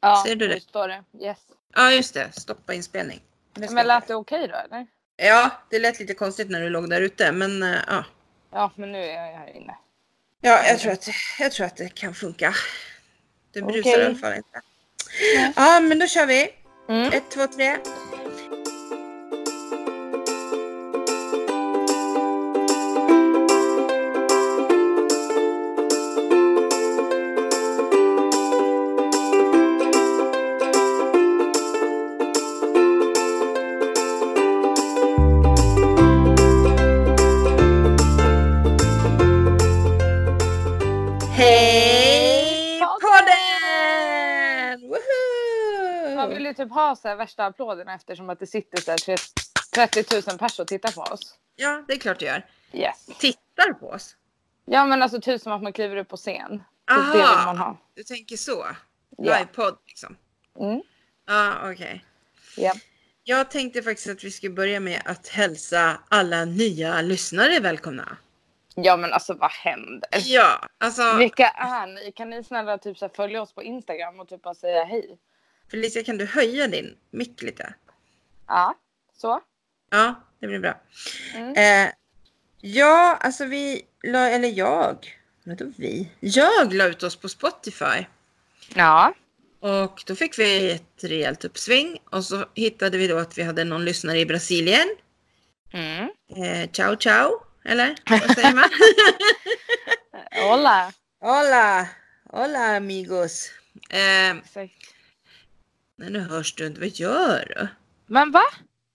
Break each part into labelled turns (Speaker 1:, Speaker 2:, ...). Speaker 1: Ja,
Speaker 2: Ser du det?
Speaker 1: nu står det. Yes.
Speaker 2: Ja just det, stoppa inspelning. Det ska
Speaker 1: Men
Speaker 2: jag
Speaker 1: lät det okej då eller?
Speaker 2: göra. Ja, det lät lite konstigt när du låg där ute men eh, ja.
Speaker 1: Ja, men nu är jag här inne.
Speaker 2: Ja, jag tror att, jag tror att det kan funka. Det brusar
Speaker 1: Okej.
Speaker 2: i alla fall inte.
Speaker 1: Nej.
Speaker 2: Ja, men då kör vi.
Speaker 1: Mm.
Speaker 2: Ett, två, tre. Hej podden!
Speaker 1: Man
Speaker 2: Woho!
Speaker 1: vill ju typ ha så här värsta applåderna eftersom att det sitter så här tre- 30 000 personer och tittar på oss.
Speaker 2: Ja, det är klart det gör.
Speaker 1: Yes.
Speaker 2: Tittar på oss.
Speaker 1: Ja, men alltså typ som att man kliver upp på scen. Typ
Speaker 2: Aha.
Speaker 1: det vill man ha.
Speaker 2: Du tänker så?
Speaker 1: Ja.
Speaker 2: Livepodd liksom?
Speaker 1: Mm.
Speaker 2: Ja, okej.
Speaker 1: Ja.
Speaker 2: Jag tänkte faktiskt att vi skulle börja med att hälsa alla nya lyssnare välkomna.
Speaker 1: ja, men alltså vad händer?
Speaker 2: Ja, alltså
Speaker 1: Vilka är ni? Kan ni snälla typ så här, följa oss på Instagram och typ bara säga hej?
Speaker 2: Felicia kan du höja din mick lite?
Speaker 1: Ja, så.
Speaker 2: Ja, det blir bra.
Speaker 1: Mm.
Speaker 2: Eh, ja, alltså vi la, eller jag, men då vi. Jag la ut oss på Spotify
Speaker 1: Ja.
Speaker 2: och då fick vi ett rejält uppsving och så hittade vi då att vi hade någon lyssnare i Brasilien.
Speaker 1: Mm.
Speaker 2: Eh, ciao ciao, eller vad säger man?
Speaker 1: Hola.
Speaker 2: Hola! Hola amigos! Eh,
Speaker 1: Exakt.
Speaker 2: nej, nu hörs du inte, vad gör du?
Speaker 1: Men va?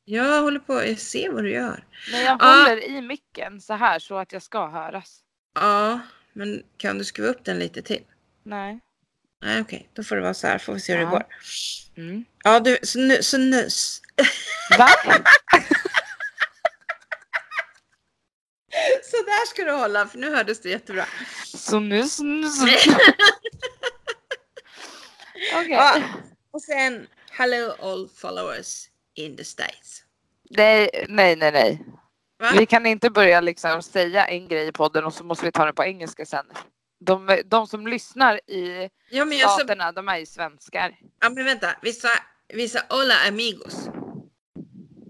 Speaker 2: Jag håller på, jag ser vad du gör.
Speaker 1: Men jag
Speaker 2: Ja.
Speaker 1: håller i micken så här så att jag ska höras.
Speaker 2: Ja, men kan du skruva upp den lite till?
Speaker 1: Nej.
Speaker 2: Nej okej, då får det vara så här, får vi se hur
Speaker 1: Ja.
Speaker 2: det går.
Speaker 1: Mm.
Speaker 2: Ja du, så nu, så nu, s-
Speaker 1: Va?
Speaker 2: så där ska du hålla för nu hördes det jättebra.
Speaker 1: Så nu, så nu, så nu. Okej.
Speaker 2: Ja, och sen, hello all followers in the States.
Speaker 1: Nej, nej, nej, nej.
Speaker 2: Va?
Speaker 1: Vi kan inte börja liksom säga en grej i podden och så måste vi ta den på engelska sen. De, de som lyssnar i
Speaker 2: Ja men jag sa,
Speaker 1: staterna, de är ju svenskar.
Speaker 2: ja men vänta, vi sa, vi sa hola amigos.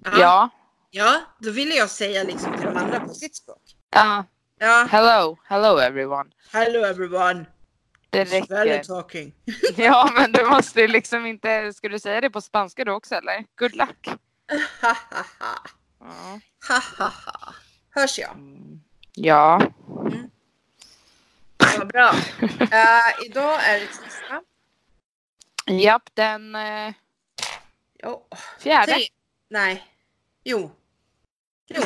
Speaker 2: Ja.
Speaker 1: Ja.
Speaker 2: Ja, då ville jag säga liksom till de andra på sitt språk.
Speaker 1: ja.
Speaker 2: Ja,
Speaker 1: Hello, hello everyone.
Speaker 2: hello everyone.
Speaker 1: Det
Speaker 2: Sverige
Speaker 1: räcker.
Speaker 2: talking.
Speaker 1: Ja, men du måste ju liksom inte... Ska du säga det på spanska då också eller? Good luck.
Speaker 2: Ha, ha, ha.
Speaker 1: Ja.
Speaker 2: Ha, ha, ha. Hörs jag?
Speaker 1: Mm. Ja.
Speaker 2: Vad bra. Eh, idag är det tisdag.
Speaker 1: Japp, den eh,
Speaker 2: Jo.
Speaker 1: fjärde.
Speaker 2: Tre- Nej. Jo. Jo.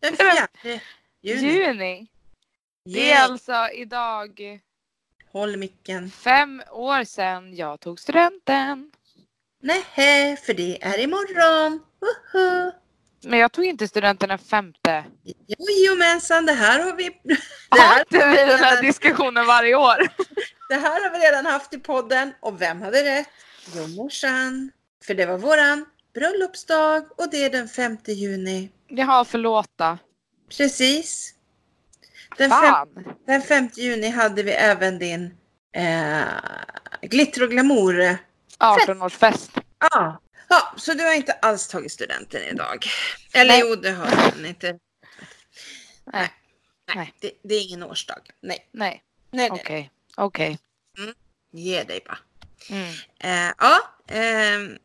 Speaker 2: Den fjärde juni.
Speaker 1: Juni. Det är
Speaker 2: Yeah.
Speaker 1: alltså idag
Speaker 2: Håll micken.
Speaker 1: fem år sedan jag tog studenten.
Speaker 2: Nej, för det är imorgon. Woho!
Speaker 1: Men jag tog inte studenten den femte.
Speaker 2: Jojomensan, det här har vi... Det
Speaker 1: Har
Speaker 2: här,
Speaker 1: inte vi den här diskussionen varje år?
Speaker 2: det här har vi redan haft i podden. Och vem hade rätt? Jo, morsan. För det var våran bröllopsdag och det är den 5 juni.
Speaker 1: Jaha, förlåta.
Speaker 2: Precis. Den 5
Speaker 1: Fan.
Speaker 2: Den 5 juni hade vi även din eh, glitter och glamour. Ja,
Speaker 1: 18-årsfest.
Speaker 2: Ja, så du har inte alls tagit studenten idag. Eller
Speaker 1: Nej.
Speaker 2: jo, det har du men inte.
Speaker 1: Nej,
Speaker 2: Nej, det, det är ingen årsdag. Nej,
Speaker 1: nej.
Speaker 2: nej, nej.
Speaker 1: Okej. Okej.
Speaker 2: Ge dig bara.
Speaker 1: Mm.
Speaker 2: Eh, ja, ehm,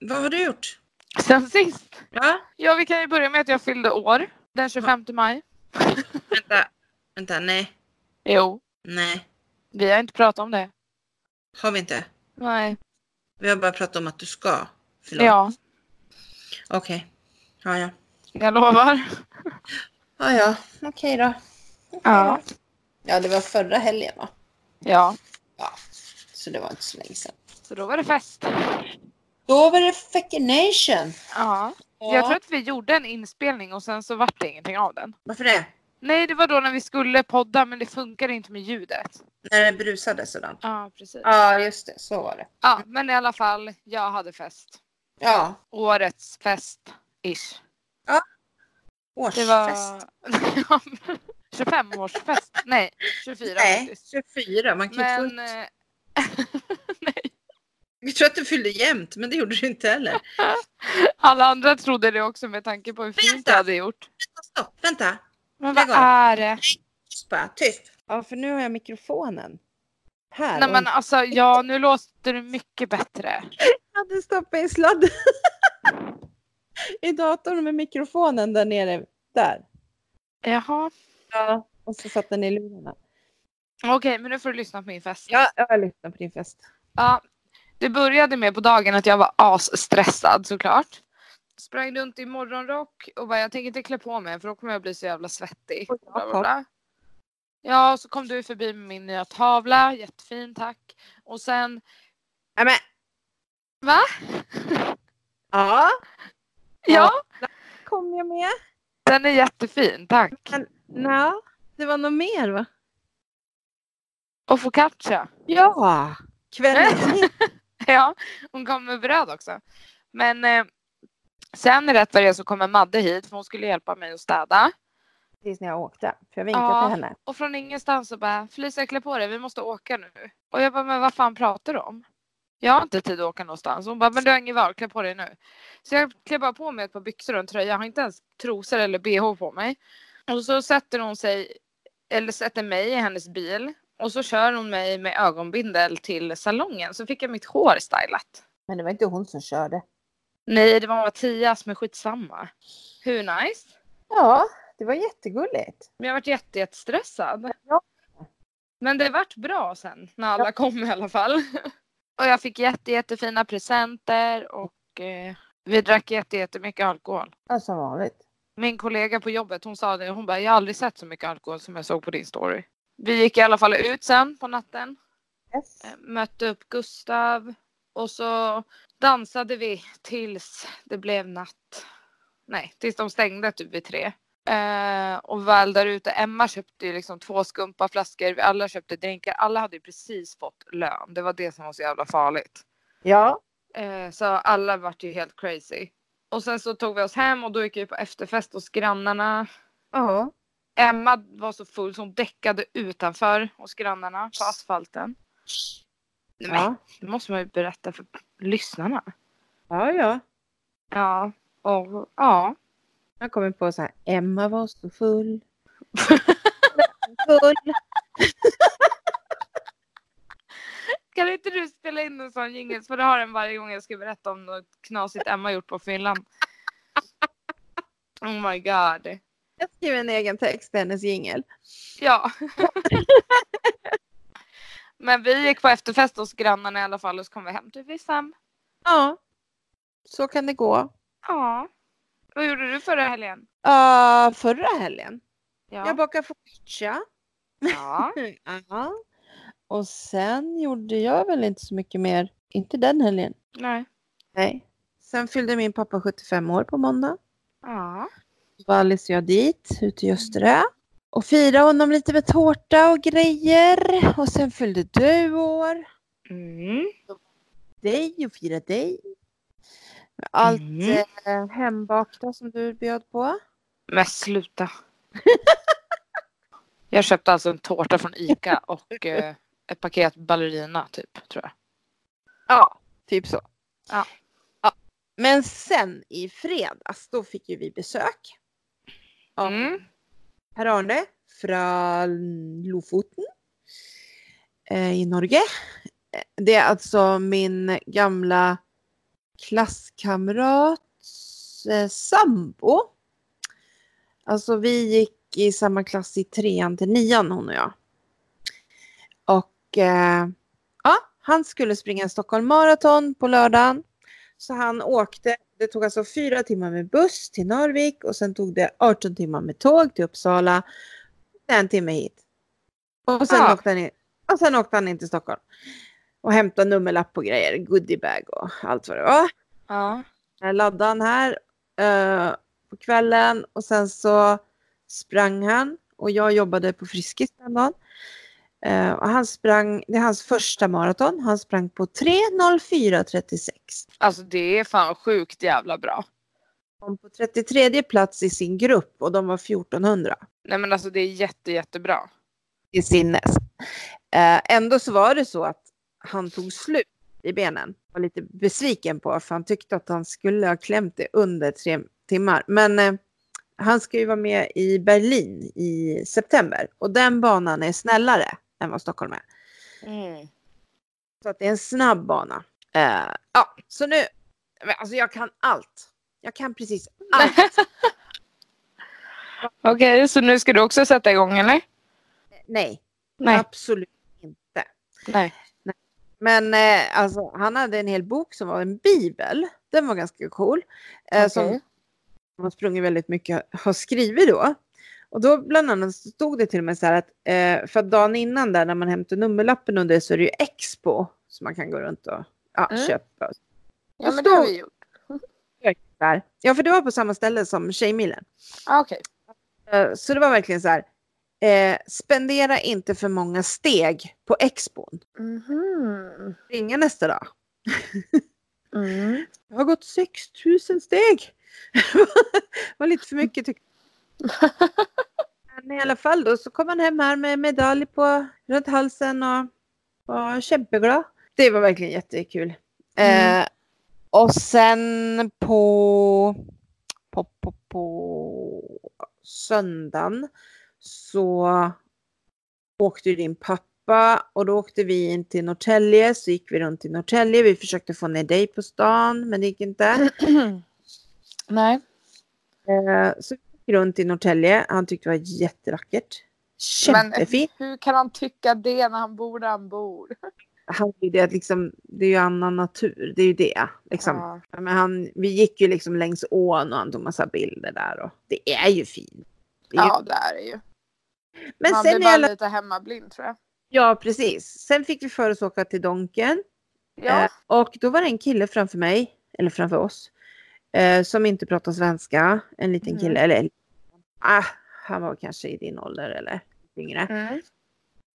Speaker 2: vad har du gjort?
Speaker 1: Sen sist.
Speaker 2: Ja,
Speaker 1: Ja, vi kan ju börja med att jag fyllde år. Den 25 maj.
Speaker 2: vänta, vänta, nej,
Speaker 1: Jo.
Speaker 2: nej,
Speaker 1: Vi har inte pratat om det.
Speaker 2: har vi inte.
Speaker 1: Nej.
Speaker 2: Vi har bara pratat om att du ska. Förlåt.
Speaker 1: Ja,
Speaker 2: Okej. Ja, ja.
Speaker 1: jag lovar.
Speaker 2: Ja, ja. Okej då.
Speaker 1: Ja.
Speaker 2: Ja, det var förra helgen va?
Speaker 1: Ja.
Speaker 2: Så det var inte så länge sedan.
Speaker 1: Så då var det fest.
Speaker 2: Då var det fucking nation.
Speaker 1: Ja. Jag tror att vi gjorde en inspelning och sen så vart det ingenting av den.
Speaker 2: Varför det?
Speaker 1: Nej, det var då när vi skulle podda men det funkade inte med ljudet.
Speaker 2: När det brusade sådant.
Speaker 1: Ja, precis. Ja.
Speaker 2: Ja, just det. Så var det.
Speaker 1: men i alla fall, jag hade fest.
Speaker 2: Ja.
Speaker 1: Årets fest, ish. Det
Speaker 2: Årsfest.
Speaker 1: var... 25-årsfest. Nej, 24
Speaker 2: Nej,
Speaker 1: faktiskt.
Speaker 2: 24. Man kan ju
Speaker 1: Men...
Speaker 2: inte få ut-
Speaker 1: eh, Nej.
Speaker 2: Jag tror att du fyllde jämnt, men det gjorde du inte heller.
Speaker 1: Alla andra trodde det också med tanke på hur fint
Speaker 2: Vänta.
Speaker 1: jag hade gjort.
Speaker 2: Stopp, vänta.
Speaker 1: Men
Speaker 2: Lägg
Speaker 1: vad
Speaker 2: av.
Speaker 1: är det?
Speaker 2: Tyst bara, tyst. Ja, för nu har jag mikrofonen. Här.
Speaker 1: Nej men alltså, ja nu låter du mycket bättre.
Speaker 2: Jag hade stoppat in sladden i datorn med mikrofonen där nere. Där.
Speaker 1: Jaha.
Speaker 2: Ja. Och så satt den i lurarna.
Speaker 1: Okej, men nu får du lyssna på min fest.
Speaker 2: Ja, jag lyssnar på din fest.
Speaker 1: Ja, det började med på dagen att jag var asstressad såklart. Sprang runt i morgonrock och bara jag tänker inte klä på mig för då kommer jag bli så jävla svettig.
Speaker 2: Och jag
Speaker 1: Bla, bla,
Speaker 2: kom.
Speaker 1: bla. Ja, så kom du förbi med min nya tavla. Jättefin, tack. Och sen,
Speaker 2: Nej, men.
Speaker 1: Va?
Speaker 2: Ja,
Speaker 1: ja,
Speaker 2: kom jag med.
Speaker 1: den är jättefin, tack.
Speaker 2: Ja, det var något mer va?
Speaker 1: Och focaccia.
Speaker 2: Ja. Kvällen.
Speaker 1: Ja, hon kom med bröd också. Men eh, sen rätt vad det är så kommer Madde hit för hon skulle hjälpa mig att städa.
Speaker 2: Precis när jag åkte. För jag vinkade
Speaker 1: Ja.
Speaker 2: till henne.
Speaker 1: Och från ingenstans så bara Felicia klä på dig, vi måste åka nu. Och jag bara, men vad fan pratar du om? Jag har inte tid att åka någonstans. Hon bara, men du har ingen val, klä på dig nu. Så jag klär bara på mig ett par byxor och en tröja. Jag har inte ens trosor eller bh på mig. Och så sätter hon sig, eller sätter mig i hennes bil. Och så kör hon mig med ögonbindel till salongen. Så fick jag mitt hår stylat.
Speaker 2: Men det var inte hon som körde.
Speaker 1: Nej, det var Mattias, men skitsamma. Hur nice?
Speaker 2: Ja, det var jättegulligt.
Speaker 1: Men jag vart jätte, jättestressad.
Speaker 2: Ja.
Speaker 1: Men det vart bra sen när alla kom i alla fall. Och jag fick jätte, jättefina presenter och eh, vi drack jätte, jättemycket alkohol.
Speaker 2: Ja, som Alltså, vanligt.
Speaker 1: Min kollega på jobbet hon sa det, hon bara jag har aldrig sett så mycket alkohol som jag såg på din story. Vi gick i alla fall ut sen på natten,
Speaker 2: Yes.
Speaker 1: eh, mötte upp Gustav och så dansade vi tills det blev natt. Nej, tills de stängde typ vid tre. Eh, och väl där ute, Emma köpte ju liksom två skumpa flaskor, vi alla köpte drinkar, alla hade ju precis fått lön. Det var det som var så jävla farligt.
Speaker 2: Ja.
Speaker 1: Eh, så alla vart ju helt crazy. Och sen så tog vi oss hem och då gick vi på efterfest hos grannarna.
Speaker 2: Ja.
Speaker 1: Emma var så full så hon däckade utanför hos grannarna på asfalten. Nej, men,
Speaker 2: Ja.
Speaker 1: Det måste man ju berätta för lyssnarna.
Speaker 2: Ja, ja.
Speaker 1: Ja, och ja.
Speaker 2: Jag kommer på så här, Emma var så full. full.
Speaker 1: Kan inte du spela in en sån jingel så får du ha den varje gång jag ska berätta om något knasigt Emma gjort på fyllan. Oh my god.
Speaker 2: Jag skriver en egen text till hennes jingel.
Speaker 1: Ja. Men vi gick på efterfest hos grannarna i alla fall och så kom vi hem typ vid fem.
Speaker 2: Ja. Så kan det gå.
Speaker 1: Ja. Vad gjorde du förra helgen?
Speaker 2: Uh, förra helgen.
Speaker 1: Ja.
Speaker 2: Jag bakade focaccia.
Speaker 1: ja.
Speaker 2: Ja. Och sen gjorde jag väl inte så mycket mer. Inte den helgen.
Speaker 1: Nej.
Speaker 2: Nej. Sen fyllde min pappa 75 år på måndag.
Speaker 1: Ja.
Speaker 2: Då var Alice och jag dit, ute i Österö. Och firade honom lite med tårta och grejer. Och sen fyllde du år.
Speaker 1: Mm.
Speaker 2: dig och fira dig. Med Allt
Speaker 1: Mm.
Speaker 2: eh, hembakta som du bjöd på.
Speaker 1: Men sluta. jag köpte alltså en tårta från ICA och eh, ett paket ballerina typ tror jag.
Speaker 2: Ja, typ så.
Speaker 1: Ja.
Speaker 2: Ja. Men sen i fredags, då fick ju vi besök. Av
Speaker 1: Mm.
Speaker 2: Per-Arne från Lofoten eh, i Norge. Eh, Det är alltså min gamla klasskamrats eh, sambo. Alltså vi gick i samma klass i trean till nian hon och jag. Och eh, ja, han skulle springa en Stockholm maraton på lördagen. Så han åkte, det tog alltså fyra timmar med buss till Narvik och sen tog det 18 timmar med tåg till Uppsala. En timme hit. Och sen,
Speaker 1: Ja.
Speaker 2: åkte, han in, och sen åkte han in till Stockholm. Och hämtade nummerlapp och grejer, goodiebag och allt vad det var.
Speaker 1: Ja.
Speaker 2: Här laddade han här eh, på kvällen och sen så sprang han och jag jobbade på Friskis den dagen. Eh, och han sprang, det är hans första maraton, han sprang på 3.04.36.
Speaker 1: Alltså det är fan sjukt jävla bra.
Speaker 2: Kom på 33 plats i sin grupp och de var 1400
Speaker 1: Nej men alltså det är jätte jättebra.
Speaker 2: i sinnes. Eh, ändå så var det så att han tog slut i benen. Var lite besviken på för han tyckte att han skulle ha klämt det under tre timmar. Men eh, han ska ju vara med i Berlin i september och den banan är snällare än vad Stockholm är.
Speaker 1: Mm.
Speaker 2: Så att det är en snabb bana. Eh, ja, så nu, men alltså jag kan allt. Jag kan precis allt.
Speaker 1: Okej, så nu ska du också sätta igång eller?
Speaker 2: Nej,
Speaker 1: Nej.
Speaker 2: absolut inte.
Speaker 1: Nej.
Speaker 2: Men eh, alltså, han hade en hel bok som var en bibel. Den var ganska cool. Eh, Som
Speaker 1: Okej.
Speaker 2: han har sprungit väldigt mycket har skrivit då. Och då bland annat så stod det till och med så här att eh, för att dagen innan där när man hämtar nummerlappen under så är det ju Expo som man kan gå runt och ja,
Speaker 1: Mm.
Speaker 2: köpa.
Speaker 1: Ja, men det har vi gjort.
Speaker 2: Där. Ja, för det var på samma ställe som Tjejmilen.
Speaker 1: Ah, Okej.
Speaker 2: Eh, Så det var verkligen så här. Eh, spendera inte för många steg på expon.
Speaker 1: Mhm.
Speaker 2: Ringa nästa dag.
Speaker 1: Mm.
Speaker 2: Jag har gått 6000 steg. det var lite för mycket tyckte jag. Men i alla fall då så kom han hem här med medalj på runt halsen och var kämpeglad. Det var verkligen jättekul.
Speaker 1: Mm.
Speaker 2: Eh, och sen på, på, på, på söndagen så åkte ju din pappa och då åkte vi in till Norrtälje så gick vi runt till Norrtälje. Vi försökte få ner dig på stan men det gick inte.
Speaker 1: Nej.
Speaker 2: Eh, Så vi gick runt i Norrtälje. Han tyckte det var jättevackert.
Speaker 1: Men-
Speaker 2: Kämpefint.
Speaker 1: Hur kan han tycka det när han bor där han bor?
Speaker 2: Han är ju det, att liksom, det är ju annan natur. Det är ju det. Liksom.
Speaker 1: Ja.
Speaker 2: Ja, Men han, vi gick ju liksom längs ån och han tog massa bilder där. Och det är ju fint. Det är ju-
Speaker 1: Ja, det är det ju.
Speaker 2: Men
Speaker 1: Man
Speaker 2: sen
Speaker 1: blir bara
Speaker 2: är alla...
Speaker 1: lite hemmablind tror jag.
Speaker 2: Ja, precis. Sen fick vi för oss åka till Donken.
Speaker 1: Ja.
Speaker 2: Eh, och då var det en kille framför mig, eller framför oss, eh, som inte pratar svenska. En liten
Speaker 1: Mm.
Speaker 2: kille. Eller, ah, han var kanske i din ålder eller yngre.
Speaker 1: Mm.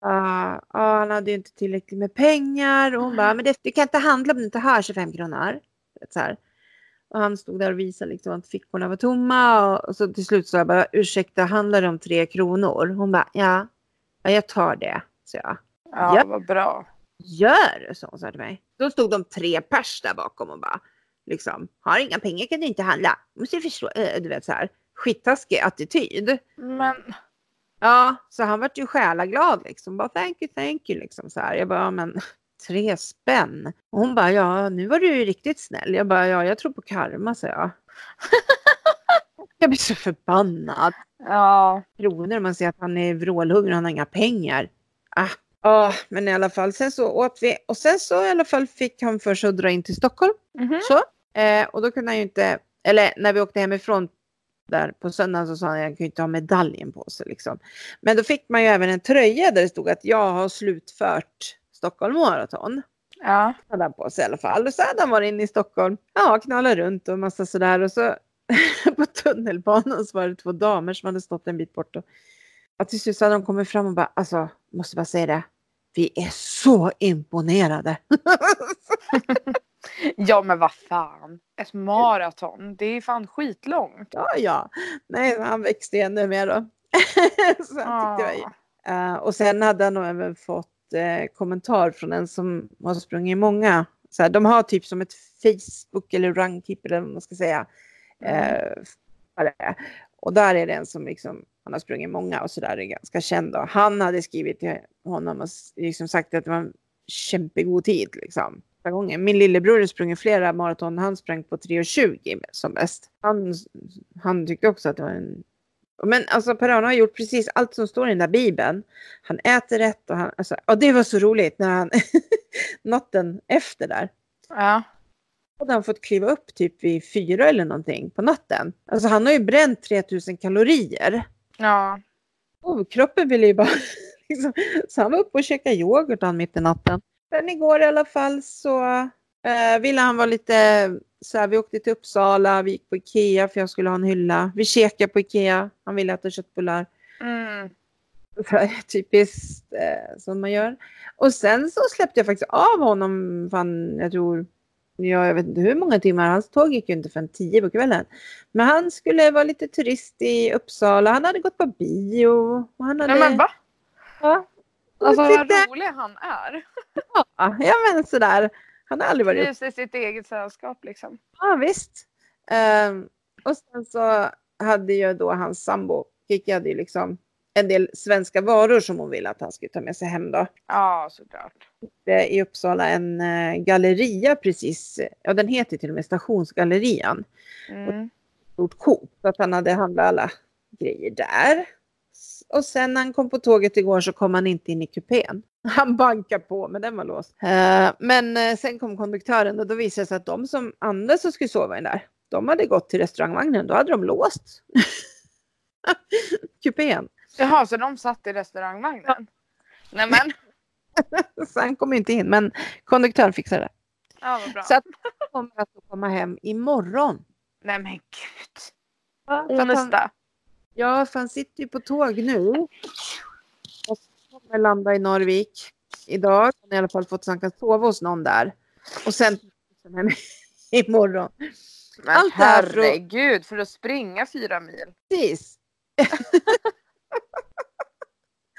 Speaker 2: Ja, ja, Ah, han hade ju inte tillräckligt med pengar. Och hon bara, men det, du kan inte handla om du inte har 25 kronor. Vet, Så här. Och han stod där och visade liksom att fickorna var tomma. Och, och så till slut så jag bara, ursäkta, handlar det om tre kronor? Hon bara, ja, ja jag tar det. Så jag,
Speaker 1: Ja,
Speaker 2: Ja.
Speaker 1: vad bra.
Speaker 2: gör det, sa hon så här till mig. Då stod de tre pers där bakom och bara, liksom, har inga pengar kan du inte handla. Måste du förstå, eh, du vet så här, skittaskig attityd.
Speaker 1: Men
Speaker 2: Ja, så han vart ju själaglad liksom. Bara thank you, thank you liksom så här. Jag bara, ja, men tre spänn. Och hon bara, ja nu var du ju riktigt snäll. Jag bara, ja jag tror på karma sa jag. jag blir så förbannad.
Speaker 1: ja.
Speaker 2: Kronor, man ser att han är vrålhungrig och han har inga pengar. Ah. Ja, men i alla fall sen så åt vi och sen så i alla fall fick han för sig att dra in till Stockholm.
Speaker 1: Mhm.
Speaker 2: Så. Eh, och då kunde han ju inte, eller när vi åkte hemifrån där på söndagen så sa han att han kunde inte ha medaljen på sig. Liksom. Men då fick man ju även en tröja där det stod att jag har slutfört Stockholm Marathon.
Speaker 1: Ja.
Speaker 2: Hade han på sig i alla fall. Och så hade han varit inne i Stockholm, ja, knallat runt och massa sådär. Och så på tunnelbanan så var det två damer som hade stått en bit bort. Och, och till slut så hade de kommit fram och bara, alltså, måste bara säga det. Vi är så imponerade.
Speaker 1: ja, men vad fan. Ett maraton, det är fan skitlångt.
Speaker 2: Ja, ja. Nej, han växte ju ännu mer då. så han tyckte jag,
Speaker 1: Ja.
Speaker 2: Eh, och sen hade han nog även fått eh, kommentar från en som har sprungit många. Så här, de har typ som ett Facebook eller Runkeeper eller vad man ska säga.
Speaker 1: Mm.
Speaker 2: Eh, vad det är. och där är det en som liksom, han har sprungit många och sådär är ganska känd. Då. Han hade skrivit till honom och s- liksom sagt att det var en kämpegod tid. Liksom. förra gången. Min lillebror har sprungit flera maraton. Han sprang på 3.20 som bäst. Han, han tyckte också att det var en... Men alltså Per-Arne har gjort precis allt som står i den där bibeln. Han äter rätt och han... Alltså, och det var så roligt när han... natten efter där
Speaker 1: ja.
Speaker 2: hade han fått kliva upp typ vid fyra eller någonting på natten. Alltså han har ju bränt 3000 kalorier.
Speaker 1: Ja.
Speaker 2: Och kroppen ville ju bara... liksom, så han var uppe och käkade yoghurt han mitt i natten. Sen igår i alla fall så eh, ville han vara lite... Så här, vi åkte till Uppsala, vi gick på Ikea för jag skulle ha en hylla. Vi käkade på Ikea, han ville äta köttbullar.
Speaker 1: Mm.
Speaker 2: Så här, Typiskt eh, som man gör. Och sen så släppte jag faktiskt av honom, fan, jag tror, ja, jag vet inte hur många timmar, hans tåg gick ju inte förrän tio på kvällen. Men han skulle vara lite turist i Uppsala, han hade gått på bio. Och han hade...
Speaker 1: Nej, men va?
Speaker 2: Ja.
Speaker 1: Alltså
Speaker 2: Alltså,
Speaker 1: vad rolig han är.
Speaker 2: ja, men sådär. Han har aldrig varit
Speaker 1: Trivs i sitt eget sällskap liksom.
Speaker 2: Ja, visst. Ehm, och sen så hade ju då hans sambo, Kikki hade ju liksom en del svenska varor som hon ville att han skulle ta med sig hem då.
Speaker 1: Ja, såklart.
Speaker 2: Det är i Uppsala en eh, galleria precis, ja den heter till och med Stationsgallerian,
Speaker 1: Mm.
Speaker 2: stort Coop, så att han hade handlat alla grejer där. S- Och sen när han kom på tåget igår så kom han inte in i kupén. Han bankade på, men den var låst. Eh, men eh, sen kom konduktören och då visade det sig att de som Anders som skulle sova i den där, de hade gått till restaurangvagnen. Då hade de låst kupén.
Speaker 1: Jaha, så de satt i restaurangvagnen? Nej men,
Speaker 2: Så han kom inte in, men konduktören fixade det.
Speaker 1: ja vad bra.
Speaker 2: Så att han kommer att få komma hem imorgon.
Speaker 1: Nej men gud.
Speaker 2: För att han,
Speaker 1: Onsdag.
Speaker 2: ja, för han sitter ju på tåg nu. Och kommer landa i Norvik idag. Han har i alla fall fått så han kan sova hos någon där. Och sen sen hem imorgon.
Speaker 1: Men
Speaker 2: Allt det här för att-
Speaker 1: herregud, för att springa fyra mil.
Speaker 2: Precis.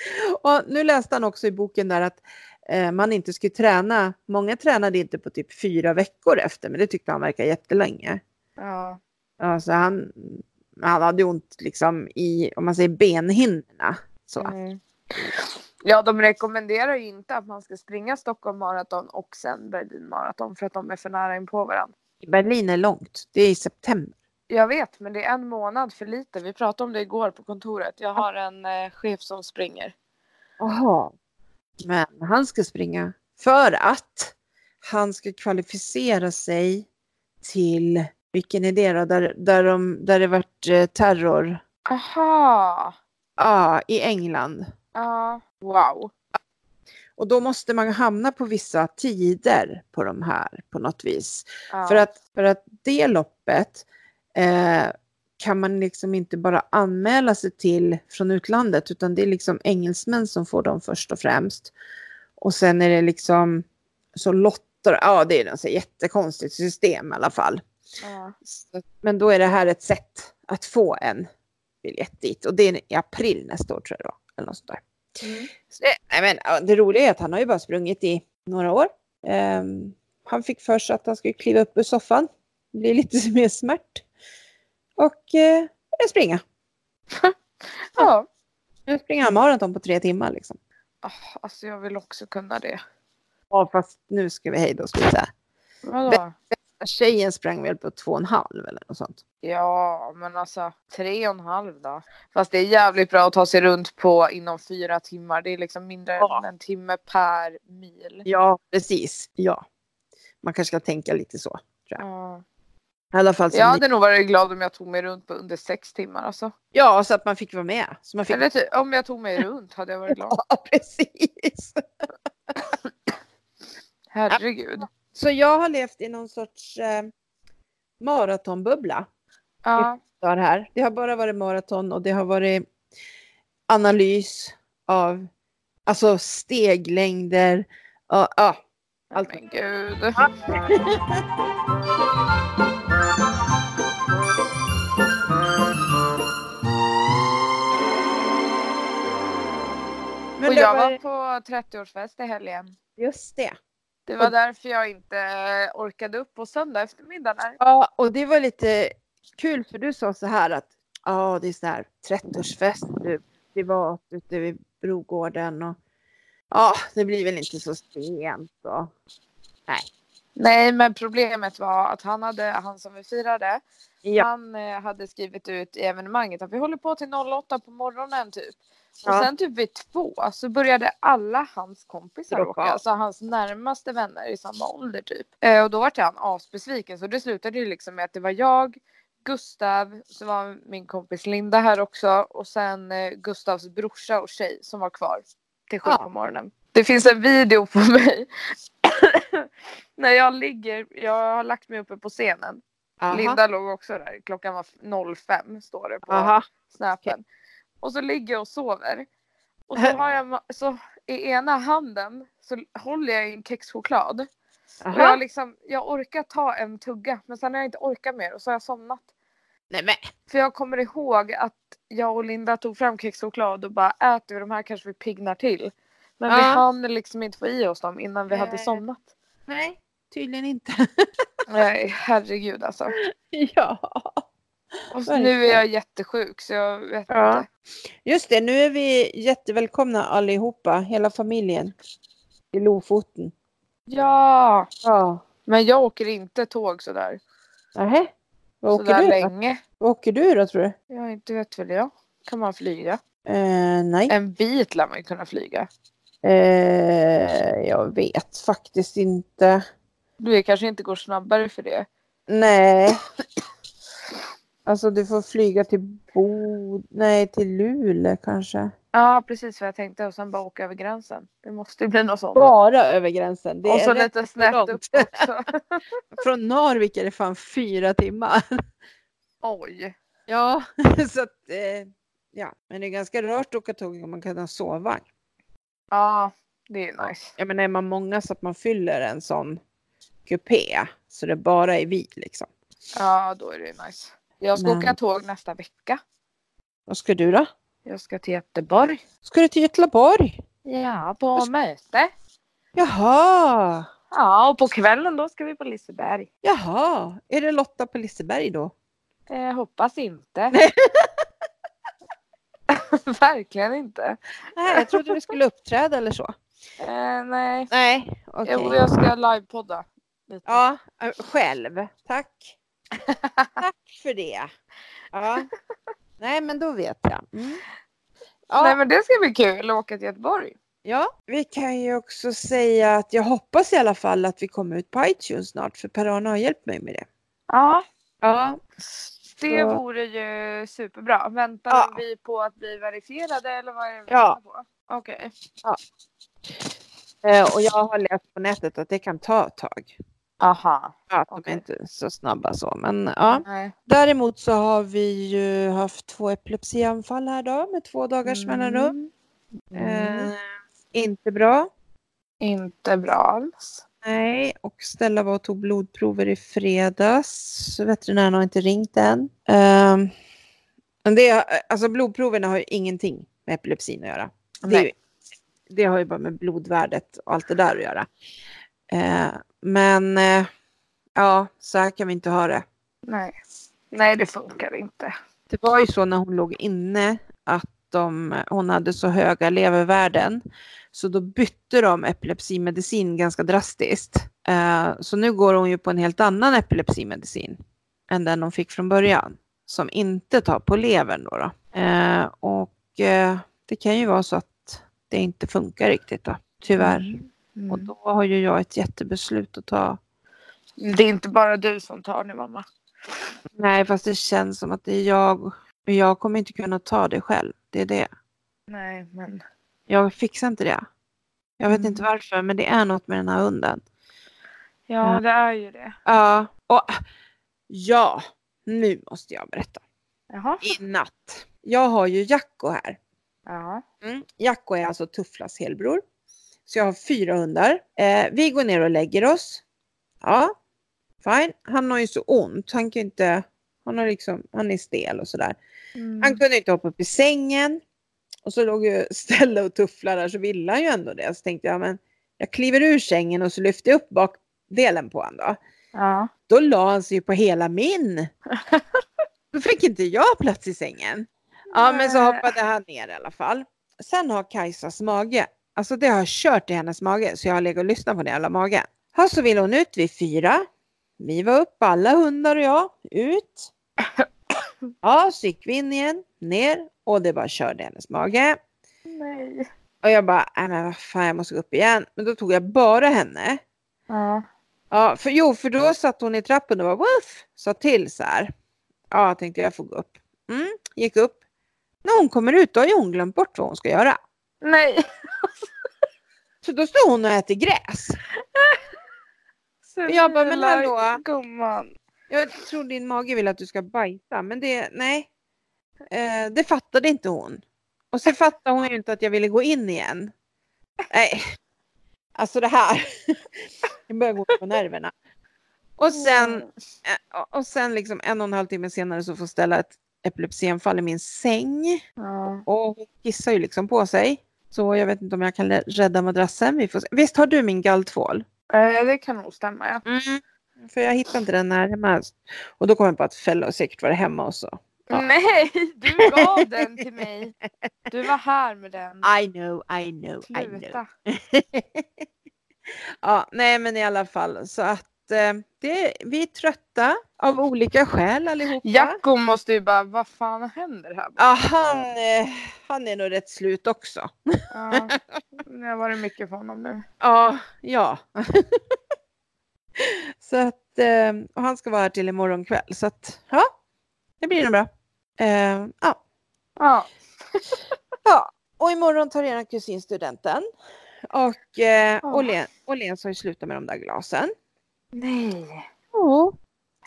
Speaker 2: och nu läste han också i boken där att eh, man inte skulle träna. Många tränade inte på typ fyra veckor efter, men det tyckte han verkar jättelänge.
Speaker 1: Ja.
Speaker 2: Alltså han, han hade ont liksom i, om man säger benhinnorna. Så.
Speaker 1: Mm. Ja, de rekommenderar ju inte att man ska springa Stockholm maraton och sen Berlin maraton för att de är för nära in på varandra.
Speaker 2: Berlin är långt, det är i september.
Speaker 1: Jag vet, men det är en månad för lite. Vi pratade om det igår på kontoret. Jag har en eh, chef som springer.
Speaker 2: Jaha. Men han ska springa för att han ska kvalificera sig till, vilken är det då, där, där, de, där det vart eh, terror
Speaker 1: Aha.
Speaker 2: ja, i England.
Speaker 1: Ja. Wow.
Speaker 2: Och då måste man hamna på vissa tider på de här på något vis.
Speaker 1: Ja.
Speaker 2: För, att, för att det loppet eh, kan man liksom inte bara anmäla sig till från utlandet utan det är liksom engelsmän som får dem först och främst. Och sen är det liksom så lottar, ja det är ett jättekonstigt system i alla fall.
Speaker 1: ja.
Speaker 2: Så- Men då är det här ett sätt att få en biljett dit och det är i april nästa år tror jag då. Eller något sånt där.
Speaker 1: Mm.
Speaker 2: Så det, nej men, ja, det roliga är att han har ju bara sprungit i några år. Ehm, han fick för sig att han skulle kliva upp ur soffan, bli lite mer smärt och eh, börja springa.
Speaker 1: ja.
Speaker 2: Nu springer han maraton på tre timmar liksom.
Speaker 1: Oh, alltså jag vill också kunna det.
Speaker 2: Ja fast nu ska vi hejda oss lite.
Speaker 1: Vadå?
Speaker 2: Tjejen sprang väl på två och en halv eller något sånt.
Speaker 1: Ja, men alltså tre och en halv då. Fast det är jävligt bra att ta sig runt på inom fyra timmar. Det är liksom mindre
Speaker 2: Ja.
Speaker 1: än en timme per mil.
Speaker 2: Ja precis, ja. Man kanske ska tänka lite så.
Speaker 1: Ja.
Speaker 2: I alla fall som
Speaker 1: Jag
Speaker 2: Alltså, ni-
Speaker 1: hade nog varit glad om jag tog mig runt på under sex timmar alltså.
Speaker 2: ja, så att man fick vara med. Så man fick...
Speaker 1: Eller typ, om jag tog mig runt hade jag varit glad.
Speaker 2: Ja precis.
Speaker 1: Herregud.
Speaker 2: Så jag har levt i någon sorts eh, maratonbubbla.
Speaker 1: Ja.
Speaker 2: dagar här. Det har bara varit maraton och det har varit analys av alltså steglängder. Ja, ja. Allt.
Speaker 1: Allt. Men gud.
Speaker 2: Men
Speaker 1: Och
Speaker 2: det
Speaker 1: jag
Speaker 2: var
Speaker 1: var på 30-årsfest i helgen.
Speaker 2: just det.
Speaker 1: Det var därför jag inte eh, orkade upp på söndag eftermiddag. Där.
Speaker 2: Ja, och det var lite kul för du sa så här att ja, det är så här 30-årsfest du, privat ute vid Brogården och ja, det blir väl inte så sent och
Speaker 1: Nej, men problemet var att han, hade, han som vi firade,
Speaker 2: Ja.
Speaker 1: han eh, hade skrivit ut i evenemanget att vi håller på till 08 på morgonen typ.
Speaker 2: Ja.
Speaker 1: Och sen typ vid två så började alla hans kompisar
Speaker 2: Droppa
Speaker 1: åka,
Speaker 2: av.
Speaker 1: alltså hans närmaste vänner i samma ålder typ. Eh, och då vart han asbesviken så det slutade ju liksom med att det var jag, Gustav, så var min kompis Linda här också och sen eh, Gustavs brorsa och tjej som var kvar till sju
Speaker 2: Ja.
Speaker 1: på morgonen. Det finns en video på mig när jag ligger, jag har lagt mig uppe på scenen.
Speaker 2: Aha.
Speaker 1: Linda låg också där, klockan var 05 står det på
Speaker 2: Aha.
Speaker 1: snapen. Och så ligger jag och sover. Och så har jag, ma- så i ena handen så håller jag i en kexchoklad. Och
Speaker 2: Aha.
Speaker 1: jag, liksom, jag orkar ta en tugga men sen har jag inte orkat mer och så har jag somnat.
Speaker 2: Nej, men.
Speaker 1: För jag kommer ihåg att jag och Linda tog fram kexchoklad och bara äter vi de här kanske vi pignar till. Men vi
Speaker 2: Ja.
Speaker 1: hann liksom inte få i oss dem innan vi hade
Speaker 2: Nej.
Speaker 1: somnat.
Speaker 2: Nej. Tydligen inte.
Speaker 1: Nej, herregud alltså.
Speaker 2: ja.
Speaker 1: Och så,
Speaker 2: Verkligen.
Speaker 1: nu är jag jättesjuk så jag vet
Speaker 2: Ja.
Speaker 1: inte.
Speaker 2: Just det, nu är vi jättevälkomna allihopa, hela familjen. I Lofoten.
Speaker 1: Ja,
Speaker 2: Ja.
Speaker 1: men jag åker inte tåg sådär.
Speaker 2: Nähä. Vad åker
Speaker 1: Sådär
Speaker 2: du, då?
Speaker 1: länge.
Speaker 2: Vad åker du då tror du?
Speaker 1: Jag inte vet väl jag. Kan man flyga?
Speaker 2: Eh, nej.
Speaker 1: En bit lär man ju kunna flyga.
Speaker 2: Eh, jag vet faktiskt inte.
Speaker 1: Det kanske inte går snabbare för det.
Speaker 2: Nej. Alltså du får flyga till Bod... Nej, till Luleå kanske.
Speaker 1: Ja, precis vad jag tänkte. Och sen bara åka över gränsen. Det måste ju bli något sånt.
Speaker 2: Bara över gränsen. Det
Speaker 1: och så
Speaker 2: är rätt
Speaker 1: lite snett
Speaker 2: långt.
Speaker 1: upp också.
Speaker 2: Från Narvik är det fan fyra timmar.
Speaker 1: Oj.
Speaker 2: Ja, så att, eh, ja. men det är ganska rört att åka tåg om man kan ha sovvagn.
Speaker 1: Ja, det är nice.
Speaker 2: Jag menar är man många så att man fyller en sån kupé så det bara är vi liksom.
Speaker 1: Ja, då är det nice. Jag ska
Speaker 2: Men-
Speaker 1: åka tåg nästa vecka.
Speaker 2: Vad ska du då?
Speaker 1: Jag ska till Göteborg.
Speaker 2: Ska du till Göteborg?
Speaker 1: Ja, på möte.
Speaker 2: Jaha,
Speaker 1: Ja, och på kvällen då ska vi på Liseberg.
Speaker 2: jaha. Är det Lotta på Liseberg då?
Speaker 1: Eh, hoppas inte.
Speaker 2: Nej.
Speaker 1: Verkligen inte.
Speaker 2: Nej, jag trodde du skulle uppträda eller så.
Speaker 1: Eh, nej.
Speaker 2: Nej, okej.
Speaker 1: Jo, jag ska livepodda. lite.
Speaker 2: Ja, eh, själv. Tack. Tack för det. Ja. Nej, men då vet jag. Mm. Ja.
Speaker 1: Nej, men det ska bli kul att åka till Göteborg.
Speaker 2: Ja, vi kan ju också säga att jag hoppas i alla fall att vi kommer ut på iTunes snart för Per-Arne har hjälpt mig med det.
Speaker 1: Ja,
Speaker 2: Ja.
Speaker 1: det
Speaker 2: Så-
Speaker 1: vore ju superbra. Väntar
Speaker 2: Ja.
Speaker 1: vi på att bli verifierade eller vad är det vi
Speaker 2: Ja.
Speaker 1: väntar på? Okej.
Speaker 2: eh, Och jag har läst på nätet att det kan ta ett tag.
Speaker 1: Aha.
Speaker 2: Ja, de
Speaker 1: Okej.
Speaker 2: är inte så snabba så. Men, ja.
Speaker 1: Nej.
Speaker 2: Däremot så har vi ju haft två epilepsianfall här då med två dagars mellanrum.
Speaker 1: Mm.
Speaker 2: Eh, inte bra.
Speaker 1: Inte bra alls.
Speaker 2: Nej, och Stella var och tog blodprover i fredags. så Veterinären har inte ringt än. Ehm, men det, alltså blodproverna har ju ingenting med epilepsin att göra. Det, är ju,
Speaker 1: Nej.
Speaker 2: det har ju bara med blodvärdet och allt det där att göra. Eh, men eh, ja, så här kan vi inte ha det.
Speaker 1: Nej. Nej, det funkar inte.
Speaker 2: Det var ju så när hon låg inne att de, hon hade så höga levervärden så då bytte de epilepsimedicin ganska drastiskt. Eh, så nu går hon ju på en helt annan epilepsimedicin än den hon fick från början som inte tar på levern då. då. Eh, och eh, det kan ju vara så att det inte funkar riktigt då, tyvärr.
Speaker 1: Mm.
Speaker 2: Och då har ju jag ett jättebeslut att ta.
Speaker 1: Det är inte bara du som tar nu, mamma.
Speaker 2: Nej, fast det känns som att det är jag. Men jag kommer inte kunna ta det själv. Det är det.
Speaker 1: Nej, men.
Speaker 2: Jag fixar inte det. Jag vet
Speaker 1: Mm.
Speaker 2: inte varför, men det är något med den här hunden.
Speaker 1: Ja,
Speaker 2: Ja.
Speaker 1: det är ju det.
Speaker 2: Ja, och ja, nu måste jag berätta.
Speaker 1: Jaha.
Speaker 2: I natt. Jag har ju Jacko här.
Speaker 1: Ja.
Speaker 2: Jacko är alltså Tufflas helbror. Så jag har fyra hundar. Eh, vi går ner och lägger oss. Ja, fine. Han har ju så ont. Han kan ju inte... Han, har liksom, han är stel och sådär.
Speaker 1: Mm.
Speaker 2: Han kunde inte hoppa upp i sängen. Och så låg ju Stella och Tuffla där så ville han ju ändå det. Så tänkte jag, men jag kliver ur sängen och så lyfter jag upp bakdelen på honom då.
Speaker 1: Ja.
Speaker 2: Då la han sig ju på hela min. Då fick inte jag plats i sängen. Ja, men så
Speaker 1: Nej.
Speaker 2: hoppade han ner i alla fall. Sen har Kajsas mage, alltså det har kört i hennes mage så jag har legat och lyssnat på den jävla magen. Här så ville hon ut vid fyra. Vi var upp, alla hundar och jag, ut. Ja, så gick vi in igen, ner och det bara körde i hennes mage.
Speaker 1: Eh, Nej.
Speaker 2: Och jag bara, nej men vad fan jag måste gå upp igen. Men då tog jag bara henne.
Speaker 1: Ja.
Speaker 2: Ja, för, jo, för då satt hon i trappen och var woof, sa till så här. Ja, jag tänkte jag får gå upp. Mm, gick upp. När hon kommer ut då har ju hon glömt bort vad hon ska göra.
Speaker 1: Nej.
Speaker 2: Så då står hon och äter gräs.
Speaker 1: Sen
Speaker 2: Jag bara, men
Speaker 1: lilla
Speaker 2: hallå?
Speaker 1: Gumman.
Speaker 2: Jag tror din mage vill att du ska bajsa, men det, nej. Eh, det fattade inte hon. Och sen fattade hon ju inte att jag ville gå in igen. Nej, alltså det här. Jag börjar gå på nerverna. Och sen Eh, och- Och sen liksom en och en halv timme senare så får Stella ett epilepsianfall i min säng.
Speaker 1: Ja.
Speaker 2: Och hon kissar ju liksom på sig. Så jag vet inte om jag kan lä- rädda madrassen. Vi får se. Visst har du min galltvål?
Speaker 1: Eh, det kan nog stämma ja.
Speaker 2: Mm. För jag hittade inte den här hemma. Och då kom jag på att Fellow säkert var det hemma och så. Ja.
Speaker 1: Nej, du gav den till mig. Du var här med den.
Speaker 2: I know, I know,
Speaker 1: Sluta.
Speaker 2: ja, nej men i alla fall så att eh, det, vi är trötta av olika skäl allihopa.
Speaker 1: Jacko måste ju bara, vad fan händer här?
Speaker 2: Ja, han, eh, han är nog rätt slut också.
Speaker 1: Ja, det har varit mycket för honom nu.
Speaker 2: Ja, ja. så att, eh, och han ska vara här till imorgon kväll så att ja, det blir nog bra. Eh, ja.
Speaker 1: Ja,
Speaker 2: ja, och imorgon tar eran kusin studenten. Och eh,
Speaker 1: Åh.
Speaker 2: Åhlén- Åhléns har ju slutat med de där glasen.
Speaker 1: nej,
Speaker 2: Oh.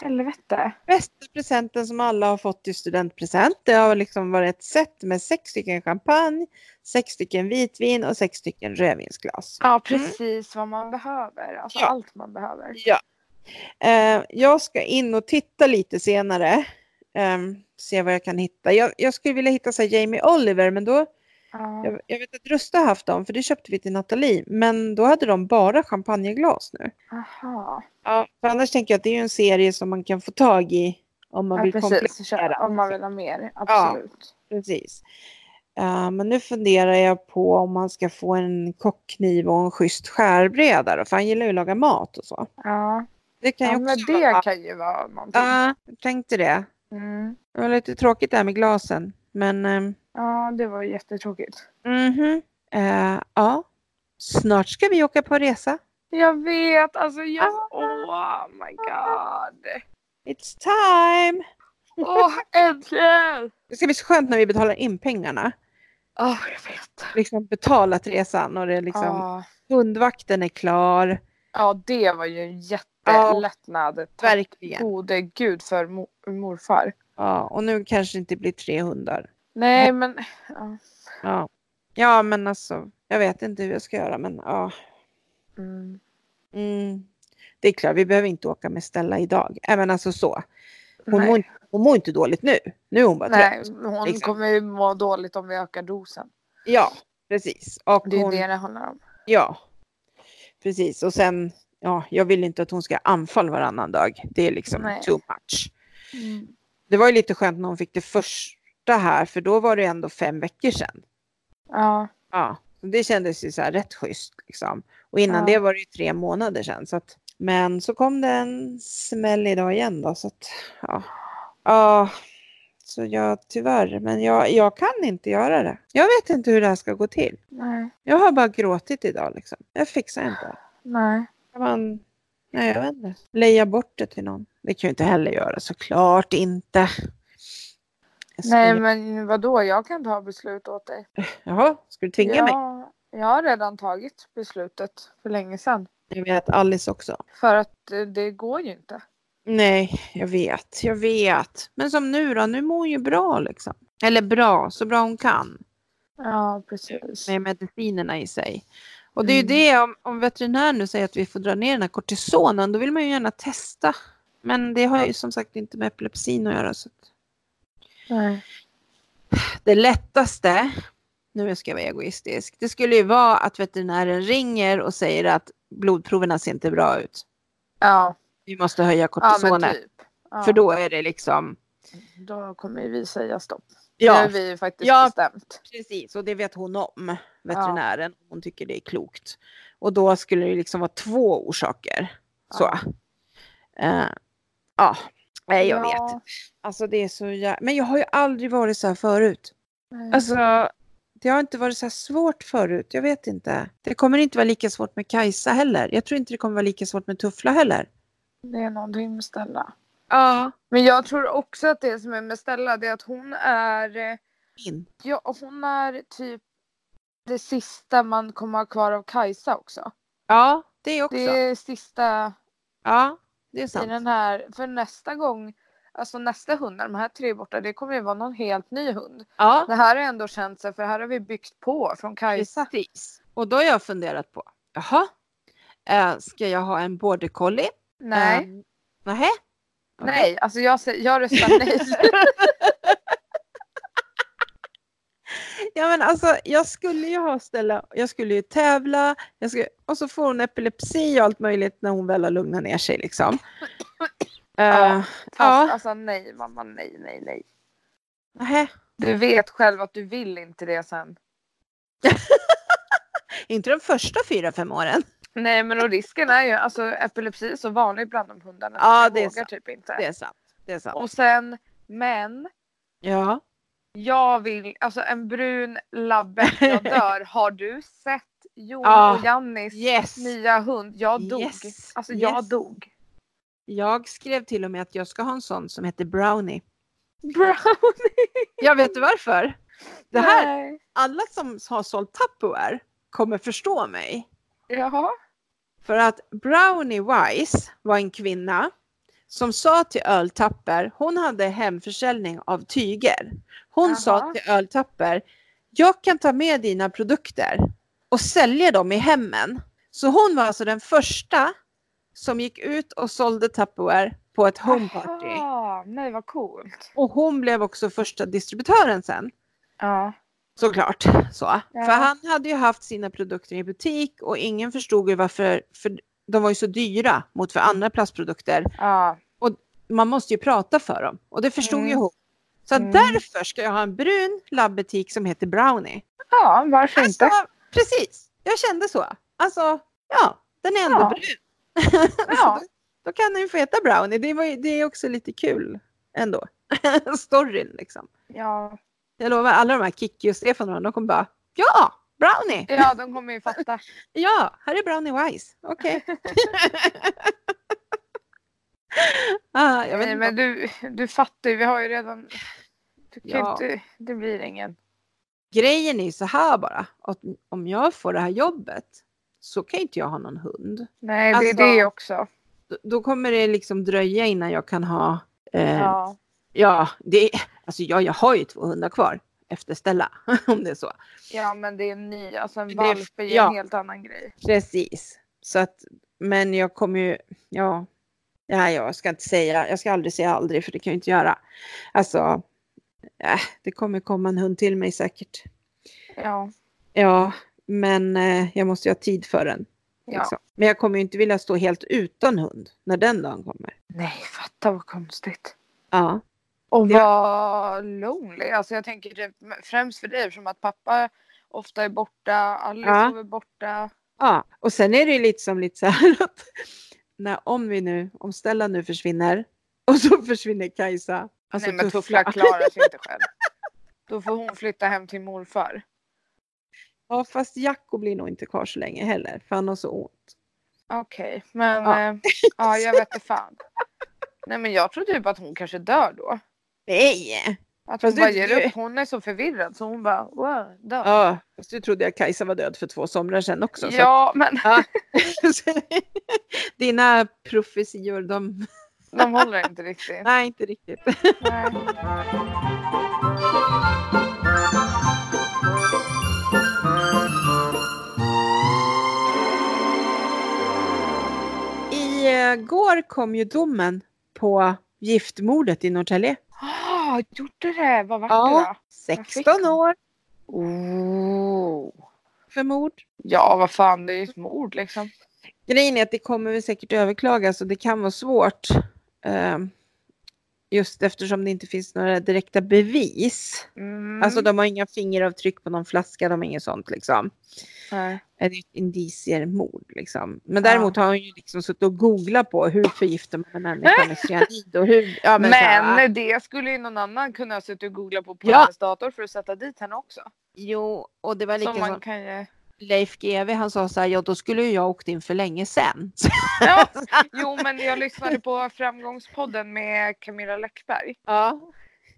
Speaker 1: helvete.
Speaker 2: Bästa presenten som alla har fått i studentpresent. Det har liksom varit ett set med sex stycken champagne, sex stycken vitvin och sex stycken rödvinsglas.
Speaker 1: Ja, precis vad man behöver. Alltså
Speaker 2: Ja.
Speaker 1: allt man behöver.
Speaker 2: Ja. Eh, jag ska in och titta lite senare. ehm, se vad jag kan hitta. Jag, jag skulle vilja hitta så här Jamie Oliver, men då...
Speaker 1: Ja.
Speaker 2: Jag, jag vet att Rusta har haft dem, för det köpte vi till Nathalie. Men då hade de bara champagneglas nu.
Speaker 1: Aha.
Speaker 2: Ja. För annars tänker jag att det är ju en serie som man kan få tag i om man
Speaker 1: Ja,
Speaker 2: vill
Speaker 1: precis.
Speaker 2: komplettera.
Speaker 1: Om man vill ha mer, absolut.
Speaker 2: Precis. Eh, men nu funderar jag på om man ska få en kockkniv och en schysst skärbräda då, för han gillar ju att laga mat och så.
Speaker 1: Ja,
Speaker 2: Det kan
Speaker 1: ja
Speaker 2: ju
Speaker 1: men
Speaker 2: också
Speaker 1: det
Speaker 2: vara-
Speaker 1: kan ju vara någonting.
Speaker 2: Ja, jag tänkte det.
Speaker 1: Mm.
Speaker 2: Det var lite tråkigt det här med glasen. Men ehm,
Speaker 1: Ja, det var ju jättetråkigt. Mm-hmm.
Speaker 2: mhm. Eh, ja, snart ska vi åka på resa.
Speaker 1: Jag vet, alltså jag... Oh my god.
Speaker 2: It's time!
Speaker 1: Åh, äntligen!
Speaker 2: Det ska bli så skönt när vi betalar in pengarna.
Speaker 1: Åh, jag vet.
Speaker 2: Liksom betalat resan och det är liksom
Speaker 1: Ja.
Speaker 2: hundvakten är klar.
Speaker 1: ja, det var ju en jättelättnad. Tack
Speaker 2: Verkligen.
Speaker 1: gode gud för mo- morfar.
Speaker 2: Ja, och nu kanske det inte blir tre hundar.
Speaker 1: Nej, men... Ja.
Speaker 2: Ja. ja, men alltså jag vet inte hur jag ska göra men ja.
Speaker 1: Mm.
Speaker 2: Mm. Det är klart, vi behöver inte åka med Stella idag. Även alltså så. Hon,
Speaker 1: Nej.
Speaker 2: mår, inte- hon mår inte dåligt nu. Nu är hon bara trött.
Speaker 1: Nej, hon
Speaker 2: liksom.
Speaker 1: kommer ju må dåligt om vi ökar dosen.
Speaker 2: Ja, precis. Och
Speaker 1: Det är
Speaker 2: hon,
Speaker 1: det det handlar om.
Speaker 2: Ja, precis. Och sen, ja, jag vill inte att hon ska ha anfall varannan dag. Det är liksom
Speaker 1: Nej.
Speaker 2: too much. Det var ju lite skönt när hon fick det första här, för då var det ändå fem veckor sedan.
Speaker 1: Ja,
Speaker 2: Ja, så det kändes ju så här rätt schysst liksom. Och innan
Speaker 1: Ja.
Speaker 2: det var det ju tre månader sedan. Så att, men så kom det en smäll idag igen då, så att, ja. ja. Så jag, tyvärr, men jag, jag kan inte göra det. Jag vet inte hur det här ska gå till.
Speaker 1: nej,
Speaker 2: Jag har bara gråtit idag liksom. Jag fixar inte det.
Speaker 1: nej.
Speaker 2: Kan man, nej jag vet inte, leja bort det till någon? Det kan jag inte heller göra, såklart inte. Jag skulle,
Speaker 1: Nej, men vadå? Jag kan ta beslut åt dig.
Speaker 2: Jaha, ska du tvinga
Speaker 1: jag,
Speaker 2: mig?
Speaker 1: Jag har redan tagit beslutet för länge sedan.
Speaker 2: Jag vet, Alice också.
Speaker 1: För att eh, det går ju inte.
Speaker 2: Nej, jag vet, jag vet. Men som nu då, nu mår hon ju bra liksom. Eller bra, så bra hon kan.
Speaker 1: Ja, precis.
Speaker 2: Med medicinerna i sig. Och det är ju
Speaker 1: Mm.
Speaker 2: det, om, om veterinären nu säger att vi får dra ner den här kortisonen, då vill man ju gärna testa. Men det har ju som sagt inte med epilepsin att göra. Så att...
Speaker 1: Nej.
Speaker 2: Det lättaste, nu ska jag vara egoistisk, det skulle ju vara att veterinären ringer och säger att blodproverna ser inte bra ut.
Speaker 1: Ja,
Speaker 2: Vi måste höja
Speaker 1: ja
Speaker 2: kortisonet.
Speaker 1: men typ. Ja,
Speaker 2: För då är det liksom...
Speaker 1: då kommer ju vi säga stopp. Det har
Speaker 2: Ja,
Speaker 1: vi ju faktiskt
Speaker 2: Ja.
Speaker 1: bestämt.
Speaker 2: precis. Och det vet hon om, veterinären. Hon tycker det är klokt. Och då skulle det liksom vara två orsaker. Så.
Speaker 1: Ja.
Speaker 2: Eh, ja. Nej, jag
Speaker 1: Ja,
Speaker 2: vet. Alltså det är så jä... Men jag har ju aldrig varit så här förut.
Speaker 1: nej.
Speaker 2: Alltså, det har inte varit så här svårt förut. Jag vet inte. Det kommer inte vara lika svårt med Kajsa heller. Jag tror inte det kommer vara lika svårt med Tuffla heller.
Speaker 1: Det är någonting med Stella.
Speaker 2: Ja.
Speaker 1: Men jag tror också att det som är med Stella det är att hon är eh,
Speaker 2: In.
Speaker 1: Ja, och hon är typ det sista man kommer ha kvar av Kajsa också.
Speaker 2: Ja, det också.
Speaker 1: Det är sista
Speaker 2: Ja, det är
Speaker 1: i
Speaker 2: sant.
Speaker 1: den här. För nästa gång, alltså nästa hund, när de här tre är borta, det kommer ju vara någon helt ny hund.
Speaker 2: Ja,
Speaker 1: Det här har ändå känts, för här har vi byggt på från Kajsa.
Speaker 2: precis. Och då har jag funderat på, jaha, eh, ska jag ha en border collie?
Speaker 1: Nej,
Speaker 2: Eh, Nähä? Okej.
Speaker 1: nej, alltså jag, säger- jag röstar nej.
Speaker 2: Ja, men alltså, jag skulle ju ha ställa, jag skulle ju tävla jag skulle, och så får hon epilepsi och allt möjligt när hon väl har lugnat ner sig. Liksom.
Speaker 1: Ja.
Speaker 2: Eh,
Speaker 1: Fast
Speaker 2: Ja.
Speaker 1: alltså nej mamma, nej, nej, nej.
Speaker 2: nähä.
Speaker 1: Du vet själv att du vill inte det sen.
Speaker 2: Inte de första fyra, fem åren.
Speaker 1: Nej men och risken är ju, alltså epilepsi är så vanligt bland de hundarna. så
Speaker 2: Ja,
Speaker 1: jag
Speaker 2: det är
Speaker 1: vågar
Speaker 2: sant.
Speaker 1: typ inte.
Speaker 2: Det är sant. Det är sant.
Speaker 1: Och sen, men
Speaker 2: Ja.
Speaker 1: jag vill, alltså en brun labbe, jag dör. Har du sett Jon
Speaker 2: Ja.
Speaker 1: och Jannis
Speaker 2: Yes.
Speaker 1: nya hund? Jag dog.
Speaker 2: Yes.
Speaker 1: Alltså jag
Speaker 2: Yes.
Speaker 1: dog.
Speaker 2: Jag skrev till och med att jag ska ha en sån som heter Brownie.
Speaker 1: Brownie!
Speaker 2: Jag vet du varför? Det här,
Speaker 1: Nej.
Speaker 2: alla som har sålt Tupperware kommer förstå mig.
Speaker 1: Jaha.
Speaker 2: För att Brownie Wise var en kvinna som sa till öltapper, hon hade hemförsäljning av tyger. Hon sa
Speaker 1: Jaha.
Speaker 2: till öltapper, jag kan ta med dina produkter och sälja dem i hemmen. Så hon var alltså den första som gick ut och sålde Tupperware på ett homeparty.
Speaker 1: Jaha. Nej vad coolt.
Speaker 2: Och hon blev också första distributören sen.
Speaker 1: Ja.
Speaker 2: Såklart. Så.
Speaker 1: Ja.
Speaker 2: För han hade ju haft sina produkter i butik och ingen förstod ju varför, för de var ju så dyra mot för andra plastprodukter.
Speaker 1: ja.
Speaker 2: Man måste ju prata för dem och det förstod
Speaker 1: Mm.
Speaker 2: ju hon. Så att
Speaker 1: Mm.
Speaker 2: därför ska jag ha en brun labbutik som heter Brownie.
Speaker 1: Ja, varför
Speaker 2: Alltså,
Speaker 1: inte?
Speaker 2: precis, jag kände så. Alltså, ja, den är ändå
Speaker 1: Ja.
Speaker 2: brun.
Speaker 1: Ja.
Speaker 2: så då, då kan den ju få heta Brownie. Det, var ju, det är också lite kul ändå. Storyn liksom.
Speaker 1: Ja,
Speaker 2: Jag lovar, alla de här Kikki och Stefan och de, de kommer bara ja, Brownie.
Speaker 1: ja de kommer ju fatta.
Speaker 2: Ja, här är Brownie Wise. Okej. ah, jag vet
Speaker 1: Nej,
Speaker 2: inte
Speaker 1: men du, du fattar ju, vi har ju redan... Du kan ju
Speaker 2: Ja.
Speaker 1: inte, det blir ingen.
Speaker 2: Grejen är ju så här bara. Att om jag får det här jobbet så kan ju inte jag ha någon hund.
Speaker 1: Nej, det
Speaker 2: Alltså,
Speaker 1: är det också.
Speaker 2: Då, då kommer det liksom dröja innan jag kan ha. Eh, ja.
Speaker 1: Ja.
Speaker 2: det, alltså jag, jag har ju två hundar kvar efter Stella. om det är så.
Speaker 1: ja, men det är en ny, alltså en
Speaker 2: Det-
Speaker 1: valp är ju
Speaker 2: ja.
Speaker 1: en helt annan grej.
Speaker 2: Precis. Så att, men jag kommer ju, ja. Nej, jag ska inte säga, jag ska aldrig säga aldrig för det kan jag inte göra. Alltså, äh, det kommer komma en hund till mig säkert.
Speaker 1: Ja,
Speaker 2: Ja, men eh, jag måste ju ha tid för den.
Speaker 1: ja.
Speaker 2: liksom. Men jag kommer ju inte vilja stå helt utan hund när den dagen kommer.
Speaker 1: Nej, fatta vad konstigt.
Speaker 2: Ja,
Speaker 1: Och
Speaker 2: Det-
Speaker 1: vad lonely. Alltså jag tänker typ främst för dig eftersom att pappa ofta är borta, Alice
Speaker 2: Ja.
Speaker 1: sover borta.
Speaker 2: ja. och sen är det ju lite som lite så här att när, om vi nu, om Stella nu försvinner och så försvinner Kajsa. Alltså
Speaker 1: Nej, men
Speaker 2: Tuffla.
Speaker 1: Tuffla klarar sig inte själv. Då får hon flytta hem till morfar.
Speaker 2: Ja, fast Jacko blir nog inte kvar så länge heller för han har så ont.
Speaker 1: Okej, men
Speaker 2: Ja.
Speaker 1: ja. Eh, ja, jag vet inte fan. Nej, men jag tror typ att hon kanske dör då.
Speaker 2: Nej!
Speaker 1: Att
Speaker 2: Fast
Speaker 1: hon
Speaker 2: du-
Speaker 1: bara ger
Speaker 2: du-
Speaker 1: upp. Hon är så förvirrad så hon bara wow, dör. Ja,
Speaker 2: Ja, fast du trodde jag Kajsa var död för två somrar sedan också. så
Speaker 1: men
Speaker 2: att- så- Dina profetior, de...
Speaker 1: de håller inte riktigt.
Speaker 2: Nej, inte riktigt.
Speaker 1: Nej.
Speaker 2: Igår eh, kom ju domen på giftmordet i Norrtälje.
Speaker 1: Ah, gjorde det? Vad vart
Speaker 2: Ja.
Speaker 1: det
Speaker 2: 16 år
Speaker 1: då? Oh.
Speaker 2: för mord.
Speaker 1: Ja, vad fan, det är ju ett mord liksom.
Speaker 2: Grejen är att det kommer väl säkert överklagas och det kan vara svårt. ehm, Just eftersom det inte finns några direkta bevis.
Speaker 1: Mm.
Speaker 2: Alltså de har inga fingeravtryck på någon flaska, de har inget sånt liksom.
Speaker 1: Nej.
Speaker 2: är det ett indicier mord liksom. Men
Speaker 1: Ja.
Speaker 2: däremot har hon ju liksom suttit och googlat på hur förgiftar man en människa med cyanid och hur... Ja, men,
Speaker 1: Men,
Speaker 2: så här,
Speaker 1: det skulle ju någon annan kunna ha suttit och googlat på på
Speaker 2: Ja.
Speaker 1: hennes dator för att sätta dit henne också.
Speaker 2: Jo, och det var lika
Speaker 1: Så
Speaker 2: som
Speaker 1: man kan ju...
Speaker 2: Leif GW han sa så här, ja då skulle ju jag åkt in för länge sen. Så-
Speaker 1: Ja, Jo, men jag lyssnade på Framgångspodden med Camilla Läckberg.
Speaker 2: ja.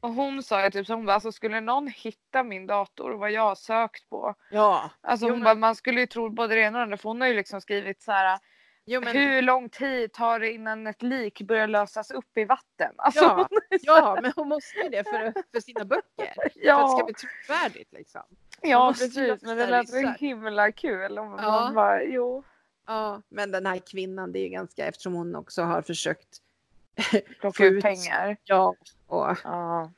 Speaker 1: Och hon sa ju typ så hon bara, alltså skulle någon hitta min dator och vad jag har sökt på.
Speaker 2: Ja.
Speaker 1: Alltså
Speaker 2: Jo,
Speaker 1: hon
Speaker 2: men-
Speaker 1: bara, man skulle ju tro både det ena och det andra. För hon har ju liksom skrivit så här,
Speaker 2: Jo, men,
Speaker 1: hur lång tid tar det innan ett lik börjar lösas upp i vatten? Alltså,
Speaker 2: ja, ja, men hon måste ju det för, för sina böcker. För att det ska
Speaker 1: ja,
Speaker 2: bli trovärdigt liksom. man
Speaker 1: ja
Speaker 2: måste ju
Speaker 1: precis. Men det
Speaker 2: lösa
Speaker 1: lät så
Speaker 2: ryssar.
Speaker 1: himla kul. Och man
Speaker 2: Ja.
Speaker 1: bara, jo.
Speaker 2: Ja, men den här kvinnan, det är ju ganska eftersom hon också har försökt. Få
Speaker 1: Plocka ut
Speaker 2: ut-
Speaker 1: pengar.
Speaker 2: Ja. Och,
Speaker 1: Ja.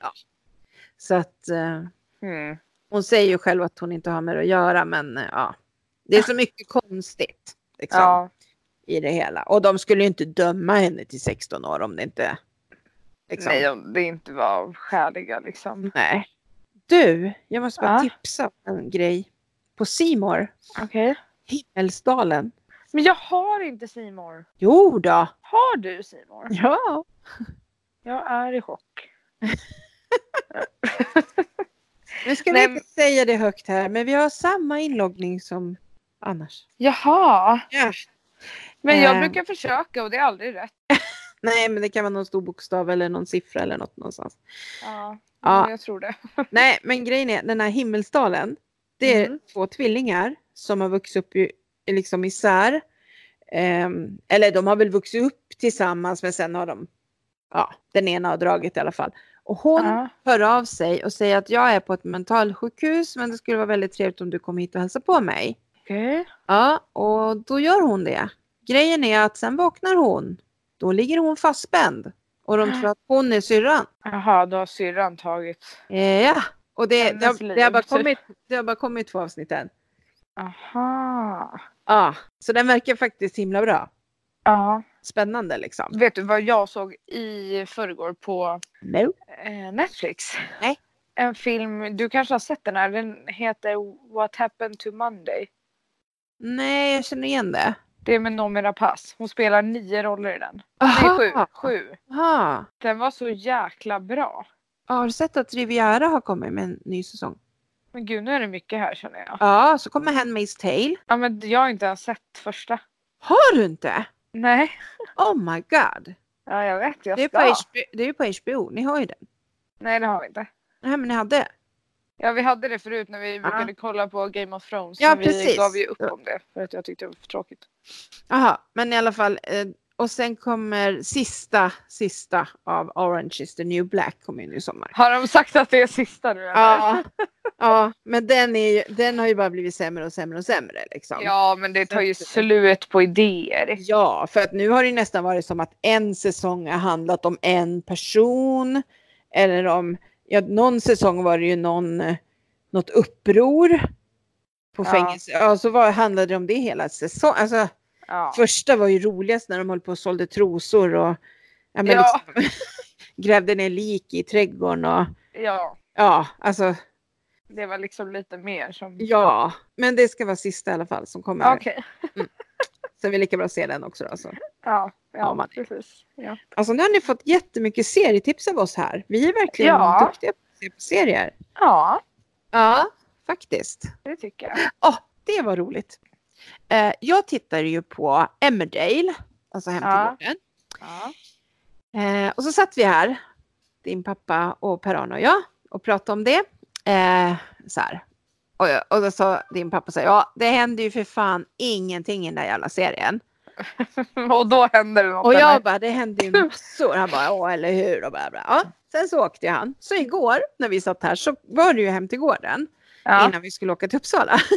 Speaker 2: så att eh,
Speaker 1: Mm.
Speaker 2: Hon säger ju själv att hon inte har med det att göra men eh, ja. Det är så mycket konstigt liksom,
Speaker 1: Ja.
Speaker 2: i det hela. Och de skulle ju inte döma henne till 16 år om det inte... Liksom.
Speaker 1: Nej, om det inte var skäliga liksom.
Speaker 2: Nej. Du, jag måste bara
Speaker 1: Ja.
Speaker 2: tipsa om en grej. På Simor,
Speaker 1: Okej.
Speaker 2: Himmelsdalen.
Speaker 1: Men jag har inte Simor.
Speaker 2: Jo då.
Speaker 1: Har du Simor?
Speaker 2: Ja.
Speaker 1: Jag är i chock.
Speaker 2: Nu ska
Speaker 1: Nej,
Speaker 2: vi inte säga det högt här, men vi har samma inloggning som annars.
Speaker 1: Jaha.
Speaker 2: Ja.
Speaker 1: Men jag
Speaker 2: Eh.
Speaker 1: brukar försöka och det är aldrig rätt.
Speaker 2: Nej, men det kan vara någon stor bokstav eller någon siffra eller något någonstans.
Speaker 1: Ja,
Speaker 2: Ja.
Speaker 1: ja. jag tror det.
Speaker 2: Nej, men grejen är den här himmelsdalen. Det är
Speaker 1: Mm.
Speaker 2: två tvillingar som har vuxit upp ju, liksom isär. Ehm, eller de har väl vuxit upp tillsammans, men sen har de, ja, den ena har dragit i alla fall. Och hon
Speaker 1: Ja.
Speaker 2: hör av sig och säger att jag är på ett mentalsjukhus, men det skulle vara väldigt trevligt om du kom hit och hälsade på mig.
Speaker 1: Okej.
Speaker 2: Ja, och då gör hon det. Grejen är att sen vaknar hon. Då ligger hon fastspänd. Och de tror att hon är syrran.
Speaker 1: Jaha, då har syrran tagit.
Speaker 2: Eh, Ja, och det,
Speaker 1: Hennes
Speaker 2: det, har, det, har
Speaker 1: liv,
Speaker 2: bara
Speaker 1: typ.
Speaker 2: kommit, det har bara kommit två avsnitt än.
Speaker 1: Aha.
Speaker 2: Ja, så den verkar faktiskt himla bra.
Speaker 1: Ja.
Speaker 2: Spännande liksom.
Speaker 1: Vet du vad jag såg i förrgår på
Speaker 2: No.
Speaker 1: eh, Netflix?
Speaker 2: Nej.
Speaker 1: En film, du kanske har sett den här, den heter What happened to Monday.
Speaker 2: Nej, jag känner igen det.
Speaker 1: Det är med Noomi Rapace. Hon spelar nio roller i den. Nej, sju. sju.
Speaker 2: Aha.
Speaker 1: Den var så jäkla bra.
Speaker 2: Ja, har du sett att Riviera har kommit med en ny säsong?
Speaker 1: Men gud, nu är det mycket här känner jag.
Speaker 2: Ja, så kommer Handmaid's Tale.
Speaker 1: Ja, men jag har inte ens sett första.
Speaker 2: Har du inte?
Speaker 1: Nej.
Speaker 2: Oh my god.
Speaker 1: Ja, jag vet. Jag
Speaker 2: Det är,
Speaker 1: ska.
Speaker 2: på HBO, det är ju på HBO, ni har ju den.
Speaker 1: Nej, det har vi inte.
Speaker 2: Nej, men ni hade.
Speaker 1: Ja, vi hade det förut när vi brukade kolla på Game of Thrones.
Speaker 2: Ah. Ja,
Speaker 1: men vi
Speaker 2: precis.
Speaker 1: gav ju upp om det för att jag tyckte det var för tråkigt.
Speaker 2: Jaha, men i alla fall. eh, Och sen kommer sista, sista av Orange is the new black kommer ju nu i sommar.
Speaker 1: Har de sagt att det är sista nu? eller?
Speaker 2: Ja, ja men den, är ju, den har ju bara blivit sämre och sämre och sämre. Liksom.
Speaker 1: ja, men det tar ju slut på idéer.
Speaker 2: ja, för att nu har det ju nästan varit som att en säsong har handlat om en person. Eller om, ja, någon säsong var det ju någon, eh, något uppror på
Speaker 1: Ja.
Speaker 2: fängelse. Ja, så var, handlade det om det hela säsongen. Alltså,
Speaker 1: Ja.
Speaker 2: Första var ju roligast när de höll på och sålde trosor och ja, men
Speaker 1: Ja.
Speaker 2: liksom, grävde ner lik i trädgården och
Speaker 1: ja,
Speaker 2: ja, alltså
Speaker 1: det var liksom lite mer som...
Speaker 2: ja. Men det ska vara sista i alla fall som kommer.
Speaker 1: Okej.
Speaker 2: Så vi lika bra se den också då. Så.
Speaker 1: Ja,
Speaker 2: Ja,
Speaker 1: ja,
Speaker 2: man-
Speaker 1: precis. Ja.
Speaker 2: Alltså nu har ni fått jättemycket serietips av oss här. Vi är verkligen
Speaker 1: Ja.
Speaker 2: duktiga på att se på serier.
Speaker 1: ja,
Speaker 2: Ja, faktiskt.
Speaker 1: det tycker jag.
Speaker 2: Åh, det var roligt. Eh, jag tittade ju på Emmerdale, alltså Hem till
Speaker 1: Ja.
Speaker 2: gården.
Speaker 1: Ja.
Speaker 2: Eh, och så satt vi här, din pappa och Per-Arne och jag, och pratade om det. Eh, så här. Och, jag, och då sa din pappa så här, ja det händer ju för fan ingenting i den där jävla serien.
Speaker 1: Och då händer det något.
Speaker 2: Och
Speaker 1: eller?
Speaker 2: jag bara, det händer ju massor. Han bara, ja eller hur? Och bara, ja. Sen så åkte han. Så igår när vi satt här så var det ju hem till gården
Speaker 1: ja.
Speaker 2: innan vi skulle åka till Uppsala.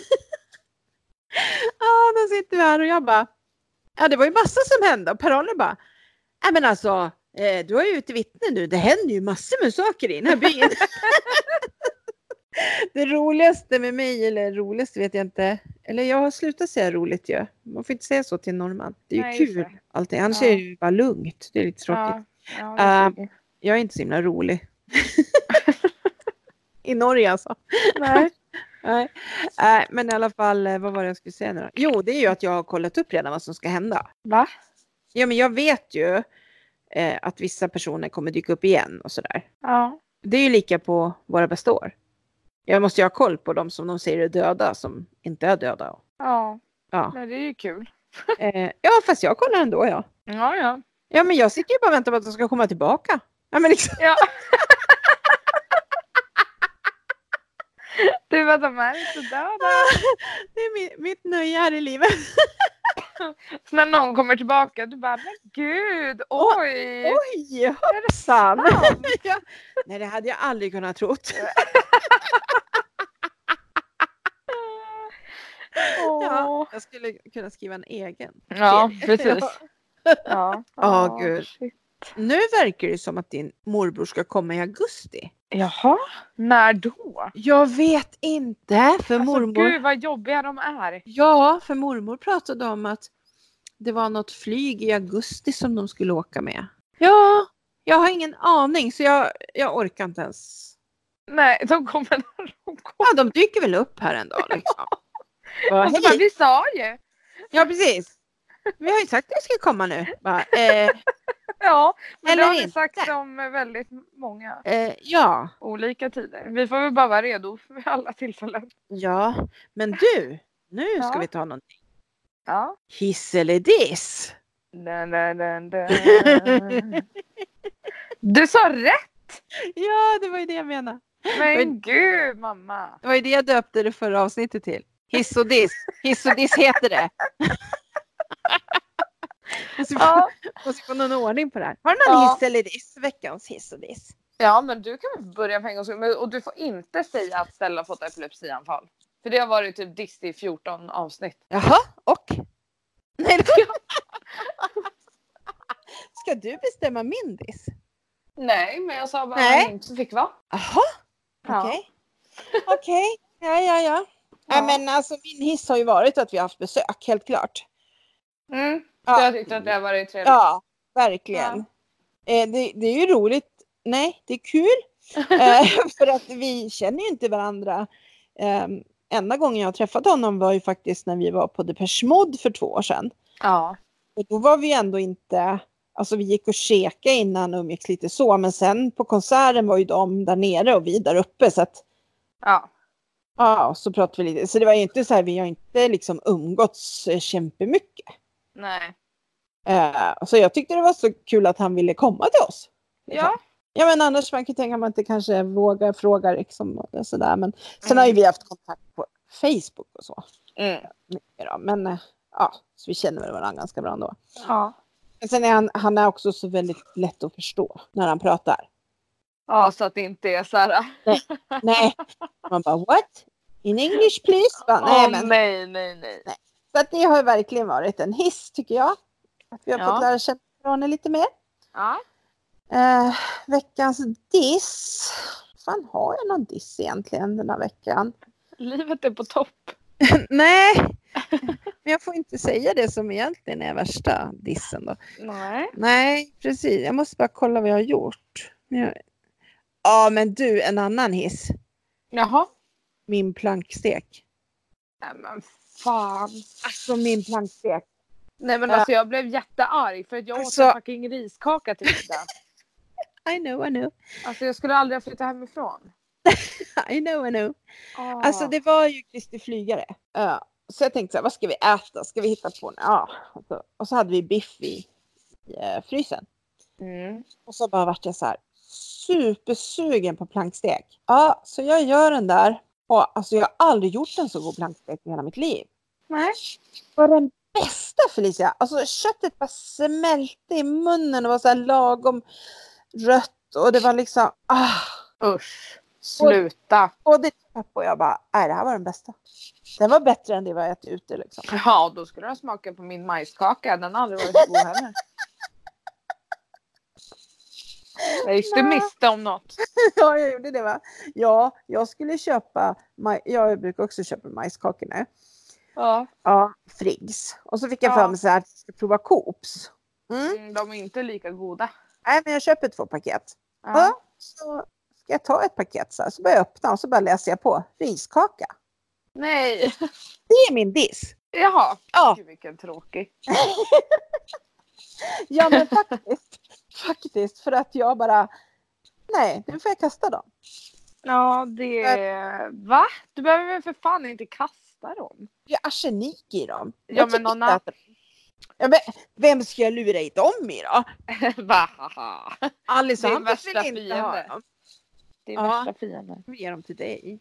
Speaker 2: ja, då sitter vi här och jag bara, ja det var ju massa som hände och Per-Arne bara, nej men alltså, eh, du har ju ett vittne nu, det händer ju massor med saker i den här byn. det roligaste med mig, eller roligast vet jag inte, eller jag har slutat säga roligt ju. Man får inte säga så till en norrman. Det är ju
Speaker 1: Nej, just
Speaker 2: kul
Speaker 1: det.
Speaker 2: allting, annars
Speaker 1: Ja.
Speaker 2: är det ju bara lugnt. Det är lite tråkigt.
Speaker 1: Ja, ja, det
Speaker 2: Ähm,
Speaker 1: tycker jag.
Speaker 2: Jag är inte så himla rolig. I Norge alltså.
Speaker 1: Nej.
Speaker 2: Nej. Nej, men i alla fall, eh, vad var det jag skulle säga nu då? Jo, det är ju att jag har kollat upp redan vad som ska hända.
Speaker 1: Va?
Speaker 2: Ja, men jag vet ju eh, att vissa personer kommer dyka upp igen och sådär.
Speaker 1: Ja.
Speaker 2: Det är ju lika på våra bästa år. Jag måste ju ha koll på de som de säger är döda som inte är döda.
Speaker 1: Ja.
Speaker 2: Ja,
Speaker 1: Nej, det är ju kul.
Speaker 2: eh, ja fast jag kollar ändå ja.
Speaker 1: Ja, ja.
Speaker 2: Ja, men jag sitter ju bara och väntar på att de ska komma tillbaka. Ja, men liksom,
Speaker 1: ja. du, vad de är inte döda.
Speaker 2: det är mi- mitt nöje här i livet.
Speaker 1: Så när någon kommer tillbaka, du bara, men gud,
Speaker 2: Åh,
Speaker 1: oj.
Speaker 2: Oj, hoppsan!
Speaker 1: sant?
Speaker 2: ja. Nej, det hade jag aldrig kunnat trott.
Speaker 1: Åh.
Speaker 2: Ja. Jag skulle kunna skriva en egen.
Speaker 1: ja, precis. Ja.
Speaker 2: Ja, gud.
Speaker 1: shit.
Speaker 2: Nu verkar det som att din morbror ska komma i augusti.
Speaker 1: Jaha, när då?
Speaker 2: Jag vet inte, för
Speaker 1: Alltså,
Speaker 2: mormor...
Speaker 1: gud vad jobbiga de är.
Speaker 2: Ja, för mormor pratade om att det var något flyg i augusti som de skulle åka med. Ja, jag har ingen aning så jag, jag orkar inte ens.
Speaker 1: Nej, de kommer när de kommer.
Speaker 2: Ja, de dyker väl upp här en dag liksom. Alltså, Bara,
Speaker 1: Och så bara,
Speaker 2: "Hej."
Speaker 1: Alltså, vi sa ju.
Speaker 2: Ja, precis. Vi har ju sagt att de ska komma nu. Bara, eh,
Speaker 1: Ja, men
Speaker 2: Eller
Speaker 1: det har vi
Speaker 2: inte.
Speaker 1: sagt om väldigt många
Speaker 2: eh, ja,
Speaker 1: olika tider. Vi får väl bara vara redo för alla tillfällen.
Speaker 2: ja, men du, nu ska
Speaker 1: Ja.
Speaker 2: vi ta någon
Speaker 1: Ja.
Speaker 2: hiss eller diss.
Speaker 1: Dun, dun, dun, dun. Du sa rätt!
Speaker 2: Ja, det var ju det jag menade.
Speaker 1: Men gud mamma!
Speaker 2: Det var ju det jag döpte det förra avsnittet till. Hiss och diss. Hiss och diss heter det. Måste vi få-
Speaker 1: Ja,
Speaker 2: måste få någon ordning på det här. Har du någon
Speaker 1: Ja.
Speaker 2: hiss eller diss? Veckans hiss och diss.
Speaker 1: ja men du kan väl börja med en gång skull. Men- Och du får inte säga att Stella har fått epilepsianfall. För det har varit typ diss i 14 avsnitt.
Speaker 2: Jaha, och? Nej, det... Ska du bestämma min diss?
Speaker 1: Nej, men jag sa bara
Speaker 2: Nej.
Speaker 1: att inte fick vara.
Speaker 2: Jaha,
Speaker 1: Ja.
Speaker 2: okej. Okej, ja, ja, ja. Nej,
Speaker 1: Ja.
Speaker 2: men alltså min hiss har ju varit att vi har haft besök, helt klart.
Speaker 1: Mm.
Speaker 2: Ja.
Speaker 1: Så jag tyckte att det har varit trevligt.
Speaker 2: Ja, verkligen. Eh, det, det är ju roligt. Nej, det är kul. Eh, för att vi känner ju inte varandra. Eh, enda gången jag träffade honom var ju faktiskt när vi var på Depeche Mode för två år sedan.
Speaker 1: Ja.
Speaker 2: Och då var vi ändå inte... Alltså vi gick och käkade innan och umgicks lite så. Men sen på konserten var ju de där nere och vi där uppe. Så att,
Speaker 1: ja.
Speaker 2: ja, så pratade vi lite. Så det var ju inte så här, vi har inte liksom umgåtts eh, kämpemycket.
Speaker 1: Nej.
Speaker 2: Eh, så jag tyckte det var så kul att han ville komma till oss. liksom.
Speaker 1: Ja.
Speaker 2: Ja men annars man kan ju tänka att man inte kanske vågar fråga liksom och sådär. Men sen
Speaker 1: Mm.
Speaker 2: har ju vi haft kontakt på Facebook och så.
Speaker 1: Mm.
Speaker 2: Ja, men eh, ja, så vi känner väl varandra ganska bra ändå.
Speaker 1: Ja.
Speaker 2: Men sen är han, han är också så väldigt lätt att förstå när han pratar.
Speaker 1: Ja, så att det inte är så här.
Speaker 2: Nej, man bara what? In English please? Bara, nej
Speaker 1: "Åh,
Speaker 2: men.
Speaker 1: nej, nej, nej.
Speaker 2: Så att det har ju verkligen varit en hiss tycker jag. Att vi har
Speaker 1: Ja.
Speaker 2: fått lära känna varandra lite mer.
Speaker 1: Ja.
Speaker 2: Eh, veckans diss. Fan har jag någon diss egentligen den här veckan?
Speaker 1: Livet är på topp.
Speaker 2: Nej, men jag får inte säga det som egentligen är värsta dissen då.
Speaker 1: Nej.
Speaker 2: Nej, precis. Jag måste bara kolla vad jag har gjort. Men jag- Ja, men du, en annan hiss.
Speaker 1: Jaha.
Speaker 2: Min plankstek.
Speaker 1: Nej men fan.
Speaker 2: Alltså min plankstek.
Speaker 1: Nej men
Speaker 2: Ja.
Speaker 1: alltså jag blev jättearg för att jag åt en
Speaker 2: Alltså-
Speaker 1: fucking riskaka till middag.
Speaker 2: I know, I know.
Speaker 1: Alltså jag skulle aldrig ha flyttat hemifrån.
Speaker 2: I know, I know.
Speaker 1: Oh.
Speaker 2: Alltså det var ju Kristi flygare. Ja. Så jag tänkte så här, vad ska vi äta? Ska vi hitta på något? Ja. Och så- Och så hade vi biff i, i eh, frysen.
Speaker 1: Mm.
Speaker 2: Och så bara vart jag så här supersugen på plankstek. Ja, så jag gör den där. Och alltså jag har aldrig gjort en så god plankstek i hela mitt liv.
Speaker 1: Nej.
Speaker 2: Det var den bästa Felicia. Alltså köttet bara smälte i munnen och var så här lagom rött och det var liksom ah.
Speaker 1: Usch. Sluta.
Speaker 2: Både pappa och jag bara, nej det här var den bästa. Den var bättre än det vi har ätit ute liksom.
Speaker 1: Ja då skulle du ha smakat på min majskaka. Den har aldrig varit så god heller. Jag gick du
Speaker 2: Nej.
Speaker 1: miste om något.
Speaker 2: Ja, jag gjorde det va? Ja, jag skulle köpa, maj- jag brukar också köpa majskakor nu.
Speaker 1: Ja.
Speaker 2: Ja, Friggs. Och så fick jag
Speaker 1: Ja.
Speaker 2: för mig så här, jag ska prova Coops. Mm.
Speaker 1: Mm, de är inte lika goda.
Speaker 2: Nej, men jag köper två paket. Ja.
Speaker 1: Ja.
Speaker 2: så ska jag ta ett paket så här, så börjar jag öppna och så bara läser jag på riskaka.
Speaker 1: Nej.
Speaker 2: Det är min diss.
Speaker 1: Jaha.
Speaker 2: Ja.
Speaker 1: Gud, vilken tråkig.
Speaker 2: Ja, men faktiskt. faktiskt, för att jag bara, nej, nu får jag kasta dem.
Speaker 1: Ja det. Va? Du behöver väl för fan inte kasta dem.
Speaker 2: Det är arsenik i dem.
Speaker 1: Ja,
Speaker 2: Jag
Speaker 1: men
Speaker 2: tycker
Speaker 1: någon
Speaker 2: inte att- Ja, men vem ska jag lura i dem i då?
Speaker 1: Va?
Speaker 2: Alice och
Speaker 1: Din
Speaker 2: Hampus
Speaker 1: värsta
Speaker 2: vill inte
Speaker 1: fiende.
Speaker 2: ha dem.
Speaker 1: Din
Speaker 2: Ja.
Speaker 1: värsta fiende.
Speaker 2: Vi ger dem till dig.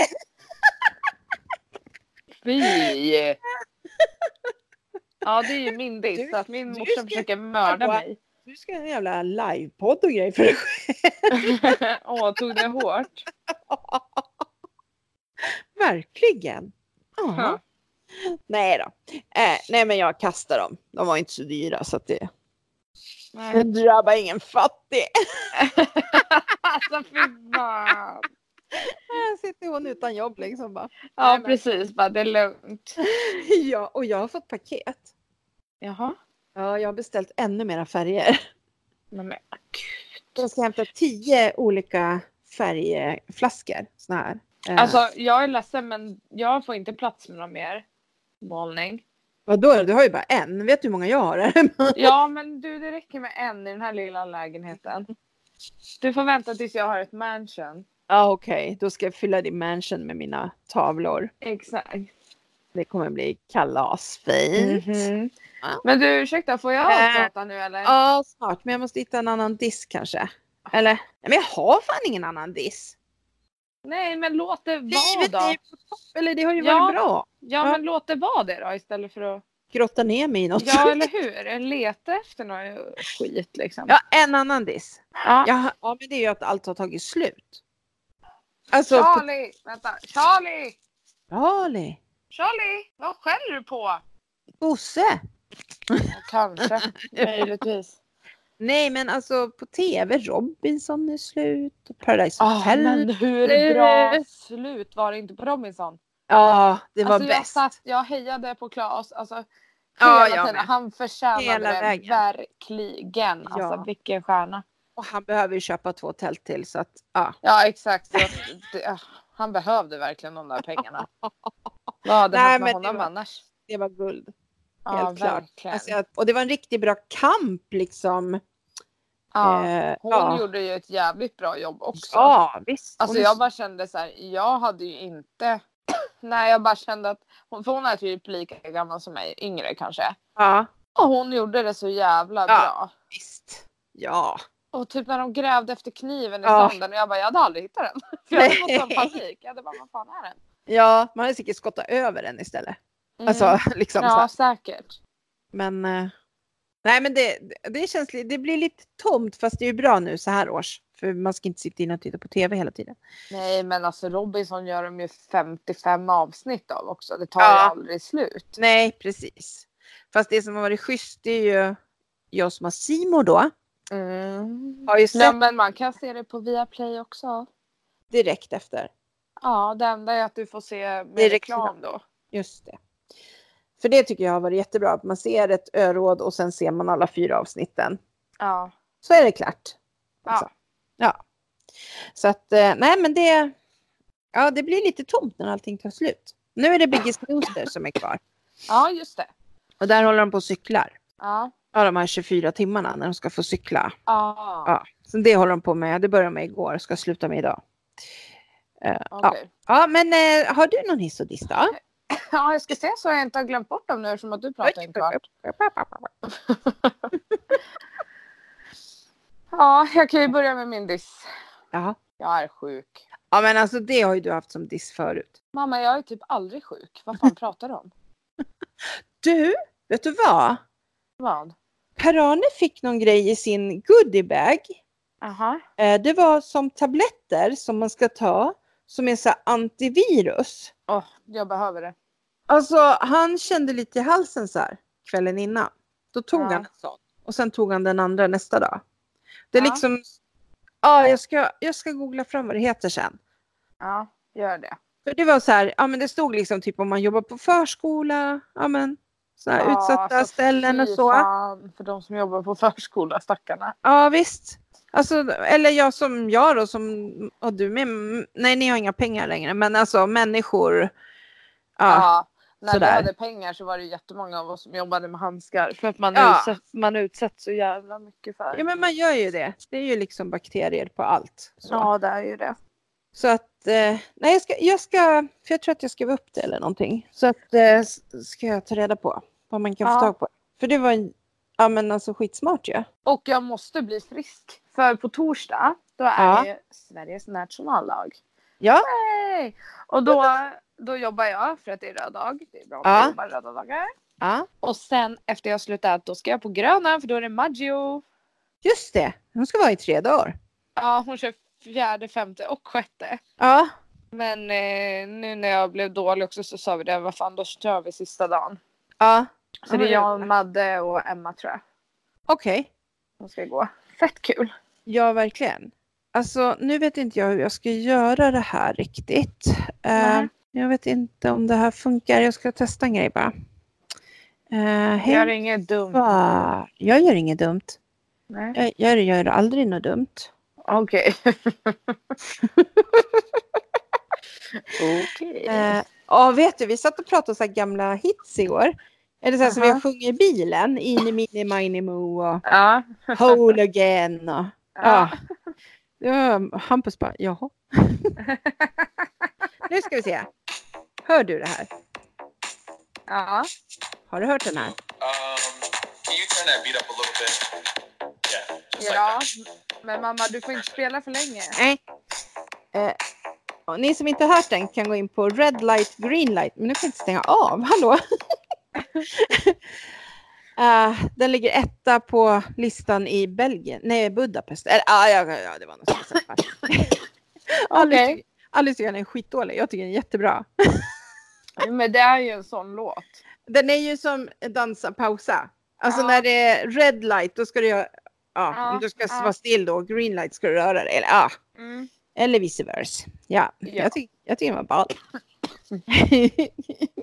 Speaker 1: Fy! Ja det är ju min diss
Speaker 2: Du-
Speaker 1: att min
Speaker 2: du
Speaker 1: morsa
Speaker 2: ska
Speaker 1: försöker mörda
Speaker 2: på-
Speaker 1: mig.
Speaker 2: Du ska ha en jävla livepodd och grejer för dig själv.
Speaker 1: Åh tog det hårt?
Speaker 2: Verkligen. Ja.
Speaker 1: Ja.
Speaker 2: Nej då. Eh, nej men jag kastar dem. De var inte så dyra så att det...
Speaker 1: Nej.
Speaker 2: Det drabbar ingen fattig.
Speaker 1: Alltså fy fan.
Speaker 2: Här sitter hon utan jobb liksom bara.
Speaker 1: Ja
Speaker 2: men-
Speaker 1: precis, bara det är lugnt.
Speaker 2: Ja, och jag har fått paket.
Speaker 1: Jaha.
Speaker 2: Ja, jag har beställt ännu mera färger.
Speaker 1: Nej, men
Speaker 2: Jag ska hämta tio olika färgflaskor. Såna här. Eh,
Speaker 1: Alltså jag är ledsen men jag får inte plats med någon mer målning.
Speaker 2: Vadå, du har ju bara en. Vet du hur många jag har? här?
Speaker 1: Ja men du det räcker med en i den här lilla lägenheten. Du får vänta tills jag har ett mansion.
Speaker 2: ja, okej. Då ska jag fylla din mansion med mina tavlor.
Speaker 1: Exakt.
Speaker 2: Det kommer bli kalasfint.
Speaker 1: Mhm.
Speaker 2: Mm. Ja.
Speaker 1: Men du ursäkta får jag
Speaker 2: Äh.
Speaker 1: prata nu eller?
Speaker 2: Ja, snart. Men jag måste hitta en annan disk kanske.
Speaker 1: Ah.
Speaker 2: Eller? Nej, men jag har fan ingen annan disk.
Speaker 1: Nej men låt det vara
Speaker 2: Livet
Speaker 1: då.
Speaker 2: är ju på topp. Eller det har ju
Speaker 1: Ja.
Speaker 2: varit bra.
Speaker 1: Ja
Speaker 2: Ja.
Speaker 1: men låt det vara det då istället för att.
Speaker 2: Grotta ner mig i något.
Speaker 1: Ja eller hur. Leta efter något skit liksom.
Speaker 2: Ja, en annan diss.
Speaker 1: Ja.
Speaker 2: Ja, ja, men det är ju att allt har tagit slut. Alltså, på
Speaker 1: Charlie! Vänta. Charlie!
Speaker 2: Charlie,
Speaker 1: Charlie! Vad skäller du på?
Speaker 2: Bosse.
Speaker 1: Kanske. Möjligtvis.
Speaker 2: Nej, men alltså på tv, Robinson är slut och Paradise
Speaker 1: Ah,
Speaker 2: Hotel.
Speaker 1: men hur bra slut var det inte på Robinson?
Speaker 2: Ja, det var
Speaker 1: alltså, jag,
Speaker 2: bäst.
Speaker 1: satt, jag hejade på Claes. Alltså, hela
Speaker 2: Ja, jag
Speaker 1: tiden.
Speaker 2: med.
Speaker 1: Han förtjänade
Speaker 2: Hela
Speaker 1: det
Speaker 2: vägen.
Speaker 1: verkligen. Alltså,
Speaker 2: Ja.
Speaker 1: Vilken stjärna.
Speaker 2: Och han behöver ju köpa två tält till så att ja.
Speaker 1: Ja, exakt. Så att det, ah, han behövde verkligen de där pengarna. Vad hade
Speaker 2: Nej,
Speaker 1: hänt med
Speaker 2: men det
Speaker 1: honom
Speaker 2: var-
Speaker 1: annars?
Speaker 2: Det var guld.
Speaker 1: Ja,
Speaker 2: helt klart.
Speaker 1: verkligen.
Speaker 2: Alltså, jag, och det var en riktigt bra kamp liksom.
Speaker 1: ja.
Speaker 2: Eh,
Speaker 1: Hon
Speaker 2: ja.
Speaker 1: gjorde ju ett jävligt bra jobb också.
Speaker 2: ja, visst.
Speaker 1: Alltså
Speaker 2: Hon-
Speaker 1: jag bara kände så här, jag hade ju inte... Nej, jag bara kände att hon, för hon är typ lika gammal som mig, yngre kanske.
Speaker 2: Ja,
Speaker 1: Och hon gjorde det så jävla
Speaker 2: Ja.
Speaker 1: bra.
Speaker 2: visst. Ja.
Speaker 1: Och typ när de grävde efter kniven i
Speaker 2: Ja.
Speaker 1: sanden och jag bara, jag hade aldrig hittat den. För jag hade fått sån
Speaker 2: Nej.
Speaker 1: panik. Jag hade bara, vad fan är den?
Speaker 2: Ja, man hade säkert skottat över den istället.
Speaker 1: Mm.
Speaker 2: Alltså liksom så här.
Speaker 1: ja, säkert.
Speaker 2: Men eh, nej, men det, det känns li- det blir lite tomt fast det är ju bra nu så här års. För man ska inte sitta inne och titta på tv hela tiden.
Speaker 1: Nej, men alltså Robinson gör de ju 55 avsnitt av också. Det tar
Speaker 2: Ja.
Speaker 1: ju aldrig slut.
Speaker 2: Nej, precis. Fast det som har varit schysst det är ju jag som har Simor då.
Speaker 1: Mm.
Speaker 2: Har ju sett
Speaker 1: Nej, men man kan se det på Viaplay också.
Speaker 2: direkt efter.
Speaker 1: Ja, det enda är att du får se med
Speaker 2: Det är
Speaker 1: reklam
Speaker 2: reklam.
Speaker 1: då.
Speaker 2: Just det. För det tycker jag har varit jättebra. Att man ser ett öråd och sen ser man alla fyra avsnitten.
Speaker 1: Ja.
Speaker 2: Så är det klart.
Speaker 1: Ja.
Speaker 2: Alltså. ja. Så att eh, nej men det. Ja det blir lite tomt när allting tar slut. Nu är det Biggest Loser som är kvar.
Speaker 1: Ja, just det.
Speaker 2: Och där håller de på och cyklar.
Speaker 1: Ja.
Speaker 2: Ja, de här 24 timmarna när de ska få cykla.
Speaker 1: Ah,
Speaker 2: Ja. Så det håller de på med. Det började med igår och ska sluta med idag.
Speaker 1: okej.
Speaker 2: Ja, men eh, har du någon hiss och diss då?
Speaker 1: ja, jag ska se så jag inte har glömt bort dem nu eftersom att du pratar en kvart. Ja, jag kan ju börja med min diss.
Speaker 2: Jaha.
Speaker 1: Jag är sjuk.
Speaker 2: Ja, men alltså det har ju du haft som diss förut.
Speaker 1: Mamma, jag är typ aldrig sjuk. Vad fan pratar du om?
Speaker 2: Du, vet du vad?
Speaker 1: Vad?
Speaker 2: Per-Arne fick någon grej i sin goodiebag.
Speaker 1: Aha.
Speaker 2: Eh, det var som tabletter som man ska ta som är så här antivirus.
Speaker 1: Åh, jag behöver det.
Speaker 2: Alltså han kände lite i halsen så här kvällen innan. Då tog
Speaker 1: Ja.
Speaker 2: han en sån och sen tog han den andra nästa dag. Det är
Speaker 1: Ja.
Speaker 2: liksom, ja jag ska, jag ska googla fram vad det heter sen.
Speaker 1: Ja, gör det.
Speaker 2: För det var så här, ja men det stod liksom typ om man jobbar på förskola, ja men så här,
Speaker 1: Ja,
Speaker 2: utsatta
Speaker 1: alltså,
Speaker 2: ställen och
Speaker 1: fy
Speaker 2: så.
Speaker 1: Fan, för de som jobbar på förskola, stackarna.
Speaker 2: Ja visst. Alltså, eller jag som jag då, som, och du med, nej ni har inga pengar längre, men alltså människor. Ja,
Speaker 1: När
Speaker 2: sådär.
Speaker 1: vi hade pengar så var det jättemånga av oss som jobbade med handskar. För att man,
Speaker 2: Ja.
Speaker 1: utsätts, man utsätts så jävla mycket för.
Speaker 2: ja men man gör ju det. Det är ju liksom bakterier på allt. Så.
Speaker 1: ja det är ju det.
Speaker 2: Så att, eh, nej jag ska, jag ska, för jag tror att jag skrev upp det eller någonting. Så att, eh, s- ska jag ta reda på vad man kan
Speaker 1: Ja.
Speaker 2: få tag på. För det var, en- ja men alltså skitsmart ju. Ja.
Speaker 1: Och jag måste bli frisk. För på torsdag, då är
Speaker 2: Ja.
Speaker 1: det Sveriges nationaldag.
Speaker 2: ja.
Speaker 1: Yay! Och då, då jobbar jag för att det är röd dag. Det är bra om
Speaker 2: Ja.
Speaker 1: jag jobbar röda dagar. Och sen efter jag slutat då ska jag på gröna för då är det Maggio.
Speaker 2: Just det, hon ska vara i tre dagar.
Speaker 1: Ja hon kör fjärde, femte och sjätte.
Speaker 2: Ja.
Speaker 1: Men eh, nu när jag blev dålig också så sa vi det, vad fan då kör vi sista dagen.
Speaker 2: Ja.
Speaker 1: Så det är jag, Madde och Emma tror jag.
Speaker 2: Okej.
Speaker 1: som ska gå. Fett kul.
Speaker 2: Ja, verkligen. Alltså, nu vet inte jag hur jag ska göra det här riktigt. Eh,
Speaker 1: Nej.
Speaker 2: jag vet inte om det här funkar. Jag ska testa en grej bara. Eh, hej.
Speaker 1: Gör inget dumt.
Speaker 2: Va? Jag gör inget dumt.
Speaker 1: Nej.
Speaker 2: Jag, jag gör aldrig något dumt.
Speaker 1: Okej. Okej.
Speaker 2: Eh, ja, vet du, vi satt och pratade om så här gamla hits igår. Eller så här som
Speaker 1: Aha.
Speaker 2: jag sjunger i bilen. Ini, mini, mini, mo och
Speaker 1: Ja.
Speaker 2: Hole again. Och, ja.
Speaker 1: Ja.
Speaker 2: Ja, Hampus bara, jaha. nu ska vi se. Hör du det här?
Speaker 1: Ja.
Speaker 2: Har du hört den här?
Speaker 3: Um, can you turn that beat up a little bit? Yeah, just
Speaker 1: ja.
Speaker 3: like that.
Speaker 1: Men mamma, du får inte spela för länge.
Speaker 2: Nej. Eh, och ni som inte har hört den kan gå in på red light, green light. Men nu kan jag inte stänga av, hallå. Eh, den ligger etta på listan i Belgien, nej Budapest. Eller, ah, ja, ja, ja, det var något sånt. Alice,
Speaker 1: Okej.
Speaker 2: Alice tycker den är skitdålig, jag tycker den är jättebra.
Speaker 1: Men det är ju en sån låt.
Speaker 2: Den är ju som dansa, pausa. Alltså
Speaker 1: Ja.
Speaker 2: när det är red light då ska du göra, ja,
Speaker 1: Ja,
Speaker 2: om du ska
Speaker 1: ja.
Speaker 2: vara still då, green light ska du röra dig. Eller, ja.
Speaker 1: Mm.
Speaker 2: Eller vice versa. Ja,
Speaker 1: Ja.
Speaker 2: Jag, tyck, jag tycker den var ball.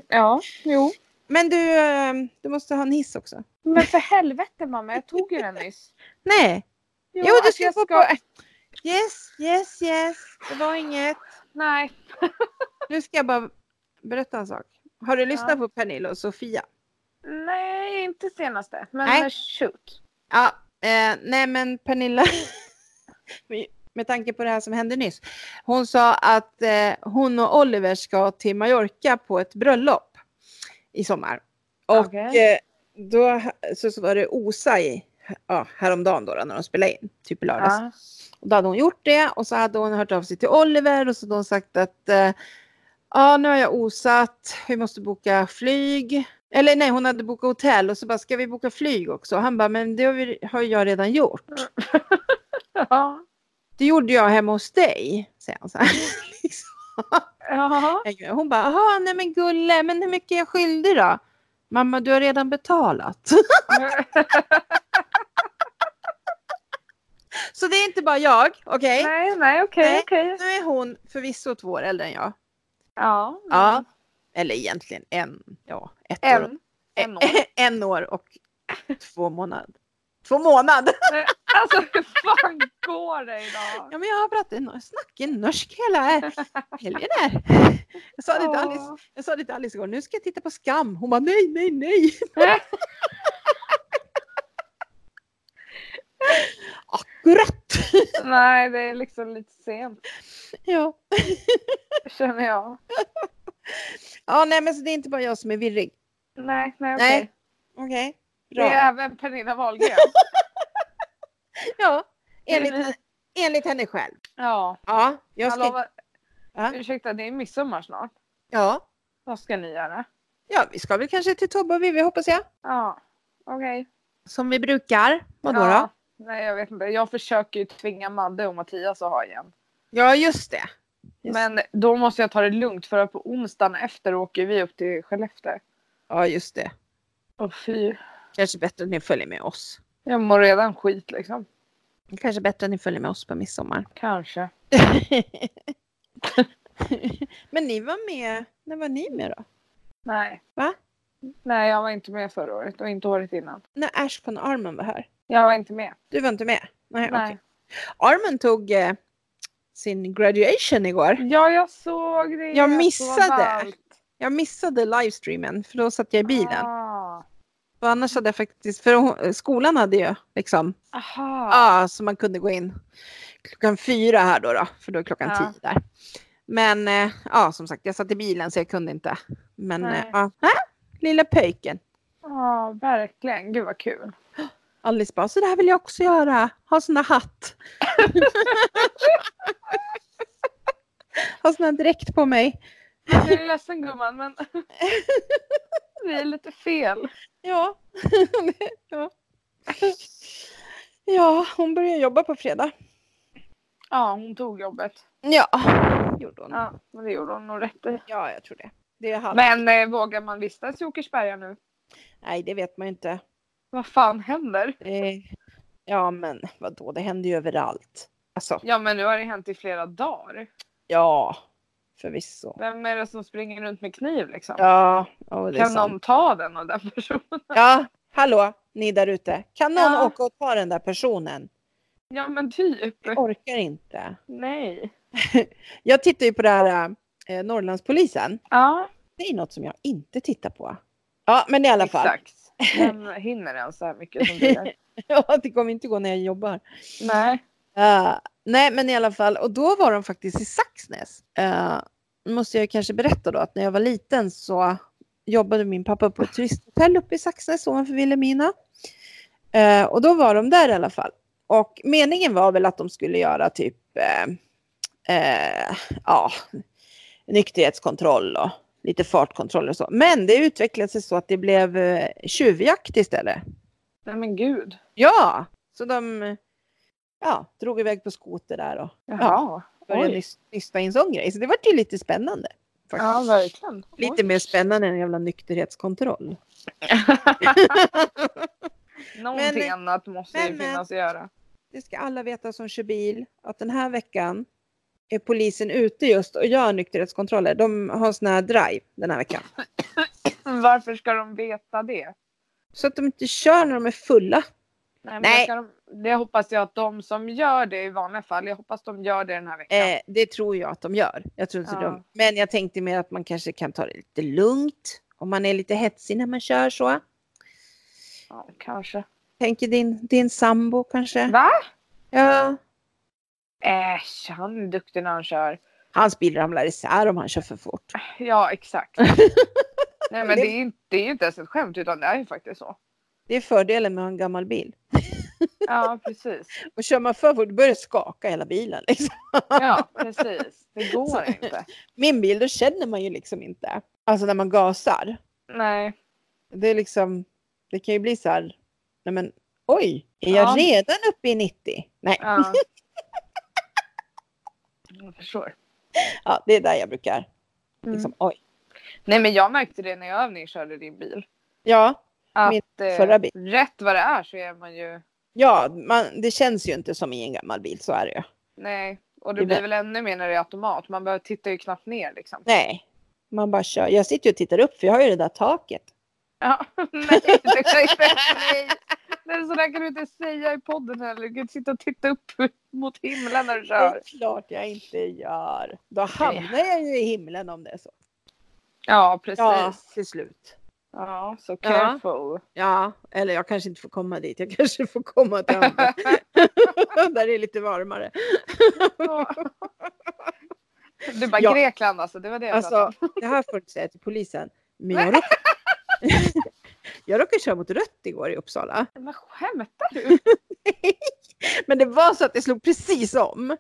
Speaker 1: Ja, jo.
Speaker 2: Men du, ehm, du måste ha en hiss också.
Speaker 1: Men för helvete mamma, jag tog ju den nyss.
Speaker 2: Nej. Jo, du
Speaker 1: att
Speaker 2: ska
Speaker 1: jag
Speaker 2: få på... Yes, yes, yes. Det var inget.
Speaker 1: Nej.
Speaker 2: Nu ska jag bara berätta en sak. Har du lyssnat
Speaker 1: Ja.
Speaker 2: på Pernilla och Sofia?
Speaker 1: Nej, inte senaste. Men
Speaker 2: Nej.
Speaker 1: eh, shoot.
Speaker 2: Ja. Eh, nej, men Pernilla. Med tanke på det här som hände nyss. Hon sa att eh, hon och Oliver ska till Mallorca på ett bröllop i sommar. Och
Speaker 1: Okej.
Speaker 2: eh, då så, så var det OSA i, ja, häromdagen då, då när de spelade in. Typ i lördags.
Speaker 1: Ja.
Speaker 2: Och då hade hon gjort det och så hade hon hört av sig till Oliver och så hade hon sagt att eh, ja, nu har jag osatt, vi måste boka flyg. Eller nej, hon hade bokat hotell och så bara, ska vi boka flyg också? Och han bara, men det har, vi, har jag redan gjort.
Speaker 1: Ja.
Speaker 2: Det gjorde jag hemma hos dig, säger han så här. Liksom.
Speaker 1: Ja.
Speaker 2: Hon bara, jaha, nej men gulle, men hur mycket är jag skyldig då? Mamma, du har redan betalat. Så det är inte bara jag, okej?
Speaker 1: Nej, nej, okej,
Speaker 2: Nej.
Speaker 1: okej.
Speaker 2: Nu är hon förvisso två år äldre än
Speaker 1: Mm.
Speaker 2: jag.
Speaker 1: Ja.
Speaker 2: Ja. Eller egentligen en, ja, ett år och
Speaker 1: En. En år.
Speaker 2: Eh, en år och äh, två månader. Två månader!
Speaker 1: Alltså hur fan går det idag?
Speaker 2: Ja, men jag har pratat nor- snackat norsk hela helgen här. Jag sa det till Alice,
Speaker 1: Åh.
Speaker 2: jag sa det till Alice igår, nu ska jag titta på Skam. Hon bara nej, nej, nej. Akkurat!
Speaker 1: Nej, det är liksom lite sent
Speaker 2: Ja.
Speaker 1: känner jag.
Speaker 2: ja, nej men så det är inte bara jag som är virrig.
Speaker 1: Nej, nej, okej.
Speaker 2: Nej, Okej.
Speaker 1: Det
Speaker 2: Bra.
Speaker 1: är även Pernilla Wahlgren.
Speaker 2: Ja, enligt, enligt henne själv.
Speaker 1: Ja.
Speaker 2: Ja, jag
Speaker 1: Jag
Speaker 2: ska...
Speaker 1: lovar.
Speaker 2: Ja.
Speaker 1: Ursäkta, det är midsommar snart.
Speaker 2: Ja.
Speaker 1: Vad ska ni göra?
Speaker 2: ja, vi ska väl kanske till Tobbe och Vivi hoppas jag.
Speaker 1: Ja, okej.
Speaker 2: Som vi brukar. Vadå
Speaker 1: ja.
Speaker 2: då?
Speaker 1: Nej, jag vet inte. Jag försöker ju tvinga Madde och Mattias att ha igen.
Speaker 2: Ja, just det. Just.
Speaker 1: Men då måste jag ta det lugnt för att på onsdagen efter åker vi upp till Skellefteå.
Speaker 2: Ja, just det.
Speaker 1: Åh fy.
Speaker 2: Kanske bättre att ni följer med oss.
Speaker 1: Jag mår redan skit liksom.
Speaker 2: Kanske bättre att ni följer med oss på midsommar.
Speaker 1: Kanske.
Speaker 2: Men ni var med, när var ni med då?
Speaker 1: Nej.
Speaker 2: Va?
Speaker 1: Nej, jag var inte med förra året och inte året innan.
Speaker 2: När Ashton och Arman var här.
Speaker 1: Jag var inte med.
Speaker 2: Du var inte med? Nej, okej.
Speaker 1: Nej.
Speaker 2: Arman tog eh, sin graduation igår.
Speaker 1: Ja, jag såg det.
Speaker 2: Jag
Speaker 1: Så
Speaker 2: missade.
Speaker 1: ballt.
Speaker 2: Jag missade livestreamen för då satt jag i bilen.
Speaker 1: Ah.
Speaker 2: För annars hade jag faktiskt, för hon, eh, skolan hade ju liksom,
Speaker 1: Aha.
Speaker 2: ja, så man kunde gå in klockan fyra här då, då för då är klockan
Speaker 1: Ja.
Speaker 2: tio där. Men eh, ja, som sagt, jag satt i bilen så jag kunde inte. Men
Speaker 1: Nej.
Speaker 2: eh, ja, Hä? lilla pöjken.
Speaker 1: Ja, verkligen. Gud vad kul.
Speaker 2: Alice bara, så det här vill jag också göra. Ha sån här hatt. ha sån här dräkt på mig.
Speaker 1: Jag är ledsen gumman, men det är lite fel.
Speaker 2: Ja. ja. Ja, hon börjar jobba på fredag.
Speaker 1: Ja, hon tog jobbet.
Speaker 2: Ja, gjorde hon.
Speaker 1: Ja, men det gjorde hon nog rätt i.
Speaker 2: Ja, jag tror det. Det är halv...
Speaker 1: Men eh, vågar man vistas i Åkersberga nu?
Speaker 2: Nej, det vet man ju inte.
Speaker 1: Vad fan händer?
Speaker 2: Eh, Ja men vadå, det händer ju överallt. Alltså,
Speaker 1: Ja men nu har det hänt i flera dagar.
Speaker 2: ja. Förvisso.
Speaker 1: Vem är det som springer runt med kniv liksom?
Speaker 2: Ja, oh, det är
Speaker 1: kan
Speaker 2: sant.
Speaker 1: någon ta den av den personen?
Speaker 2: Ja, hallå, ni där ute. Kan någon
Speaker 1: Ja.
Speaker 2: åka och ta den där personen?
Speaker 1: Ja men typ.
Speaker 2: Jag orkar inte.
Speaker 1: Nej.
Speaker 2: Jag tittar ju på det här eh, Norrlandspolisen.
Speaker 1: Ja,
Speaker 2: Det är något som jag inte tittar på. Ja, men i alla fall.
Speaker 1: exakt. Vem hinner ens så här mycket som du gör?
Speaker 2: Ja, det kommer inte gå när jag jobbar.
Speaker 1: Nej.
Speaker 2: Eh, nej, men i alla fall. Och då var de faktiskt i Saxnäs. Eh, nu måste jag kanske berätta då att när jag var liten så jobbade min pappa på ett turisthotell uppe i Saxnäs ovanför Vilhelmina. Eh, och då var de där i alla fall. Och meningen var väl att de skulle göra typ eh, eh, ja, nykterhetskontroll och lite fartkontroll och så. Men det utvecklade sig så att det blev eh, tjuvjakt istället.
Speaker 1: Nej men gud.
Speaker 2: Ja, så de eh, ja, drog iväg på skoter där och
Speaker 1: Jaha.
Speaker 2: började
Speaker 1: Oj.
Speaker 2: nys- nysta i en sån grej. Så det var ju lite spännande. Faktiskt.
Speaker 1: Ja verkligen. Oj.
Speaker 2: lite mer spännande än en jävla nykterhetskontroll.
Speaker 1: Någonting
Speaker 2: Men-
Speaker 1: annat måste ju
Speaker 2: men- men-
Speaker 1: finnas att göra.
Speaker 2: Det ska alla veta som kör bil att den här veckan är polisen ute just och gör nykterhetskontroller. De har sån här drive den här veckan.
Speaker 1: Varför ska de veta det?
Speaker 2: Så att de inte kör när de är fulla.
Speaker 1: Nej, men
Speaker 2: Nej.
Speaker 1: Ska de, det hoppas jag att de som gör det i vanliga fall, jag hoppas de gör det den här veckan.
Speaker 2: Eh, det tror jag att de gör. Jag tror inte
Speaker 1: Ja.
Speaker 2: de. Men jag tänkte mer att man kanske kan ta det lite lugnt. Om man är lite hetsig när man kör så.
Speaker 1: Ja, kanske.
Speaker 2: Tänker din, din sambo kanske?
Speaker 1: Va?
Speaker 2: Ja.
Speaker 1: Äsch, han är duktig när han kör.
Speaker 2: Hans bil ramlar isär om han kör för fort.
Speaker 1: Ja, exakt. Nej, men det är, inte, det är ju inte ens ett skämt, utan det är ju faktiskt så.
Speaker 2: Det är fördelen med att ha en gammal bil.
Speaker 1: Ja, precis.
Speaker 2: Och kör man för fort då börjar det skaka hela bilen. Liksom.
Speaker 1: Ja, precis. Det går inte.
Speaker 2: Min bil, då känner man ju liksom inte. Alltså när man gasar.
Speaker 1: Nej.
Speaker 2: Det är liksom, det kan ju bli så här, nej men oj, är jag
Speaker 1: Ja.
Speaker 2: redan uppe i 90? Nej, ja.
Speaker 1: Ja. Jag förstår.
Speaker 2: det är där jag brukar,
Speaker 1: Mm.
Speaker 2: liksom oj.
Speaker 1: Nej, men jag märkte det när jag övningskörde din bil.
Speaker 2: Ja,
Speaker 1: Att,
Speaker 2: Min
Speaker 1: eh,
Speaker 2: förra bil.
Speaker 1: Rätt vad det är så är man ju...
Speaker 2: ja man, det känns ju inte som i en gammal bil, så är det ju.
Speaker 1: Nej, och
Speaker 2: Det
Speaker 1: det
Speaker 2: är
Speaker 1: blir
Speaker 2: det.
Speaker 1: väl ännu mer när det är automat. Man behöver tittar ju knappt ner liksom.
Speaker 2: Nej, man bara kör. Jag sitter ju och tittar upp för jag har ju det där taket.
Speaker 1: Ja, nej, det kan inte, nej. nej, sådär kan du inte säga i podden heller. Du kan inte sitta och titta upp mot himlen när du
Speaker 2: Det
Speaker 1: kör.
Speaker 2: är klart jag inte gör. Då hamnar jag ju i himlen om det är så.
Speaker 1: Ja, precis. Ja,
Speaker 2: till slut.
Speaker 1: så
Speaker 2: Ja.
Speaker 1: careful.
Speaker 2: Ja, eller jag kanske inte får komma dit. Jag kanske får komma till andra. Där det är lite varmare.
Speaker 1: Ja. Du bara
Speaker 2: Ja.
Speaker 1: Grekland alltså, det var det jag pratade
Speaker 2: Alltså,
Speaker 1: om.
Speaker 2: det här får du inte säga till polisen. Men jag råkar... jag råkade köra mot rött igår i Uppsala.
Speaker 1: Men skämtar du?
Speaker 2: Men det var så att det slog precis om.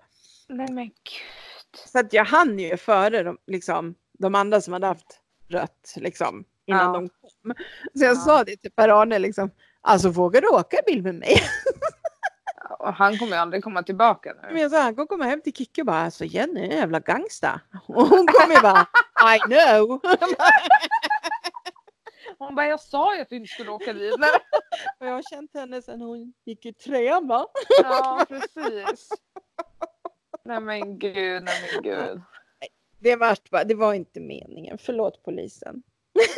Speaker 1: Nej men gud.
Speaker 2: Så att jag hann ju före de, liksom, de andra som hade haft rött liksom, innan
Speaker 1: Ja.
Speaker 2: de kom. Så jag
Speaker 1: Ja.
Speaker 2: sa det till Per-Arne liksom. Alltså vågar du åka bil med mig?
Speaker 1: Och han kommer ju aldrig komma tillbaka
Speaker 2: Men
Speaker 1: nu.
Speaker 2: jag sa, han kommer komma hem till Kicki och bara alltså Jenny är en jävla gangsta. Och hon kommer ju bara I know.
Speaker 1: Hon bara, jag sa ju att du inte skulle åka dit. Nej.
Speaker 2: Och jag har känt henne sedan hon gick i trean va?
Speaker 1: Ja, precis. Nej men gud, nej men gud.
Speaker 2: Det var, bara, det var inte meningen. Förlåt polisen.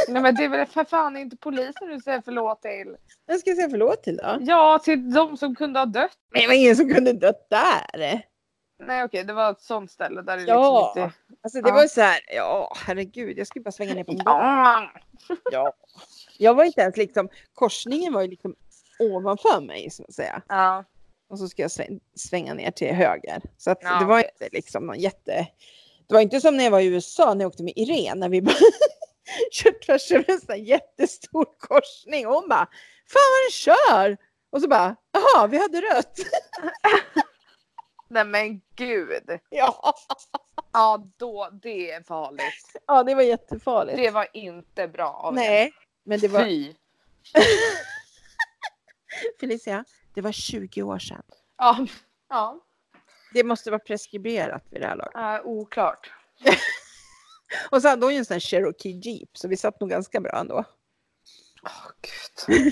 Speaker 1: Nej men det är väl för fan inte polisen du säger förlåt till.
Speaker 2: Jag ska säga förlåt till då.
Speaker 1: Ja, till de som kunde ha dött.
Speaker 2: Men det var ingen som kunde dött där.
Speaker 1: Nej okej, det var ett sånt ställe där det
Speaker 2: Ja.
Speaker 1: liksom inte...
Speaker 2: Alltså det
Speaker 1: Ja.
Speaker 2: var ju så här, ja herregud jag skulle bara svänga ner på en gång.
Speaker 1: Ja.
Speaker 2: Ja. Jag var inte ens liksom, korsningen var ju liksom ovanför mig så att säga.
Speaker 1: Ja.
Speaker 2: Och så ska jag sväng, svänga ner till höger. Så att
Speaker 1: Ja,
Speaker 2: det var inte liksom någon jätte... Det var inte som när jag var i USA när jag åkte med Irene när vi bara kört tvärs över en sån här jättestor korsning. Och hon bara, fan vad den kör! Och så bara, jaha vi hade rött.
Speaker 1: Nej men gud.
Speaker 2: ja.
Speaker 1: Ja, då, det är farligt.
Speaker 2: ja, det var jättefarligt.
Speaker 1: Det var inte bra av er.
Speaker 2: Nej, men det var...
Speaker 1: Fy.
Speaker 2: Felicia, det var 20 år sedan.
Speaker 1: Ja. Ja,
Speaker 2: Det måste vara preskriberat vid det här laget.
Speaker 1: äh, oklart.
Speaker 2: Och så hade hon ju en sån här Cherokee Jeep så vi satt nog ganska bra ändå.
Speaker 1: Åh gud.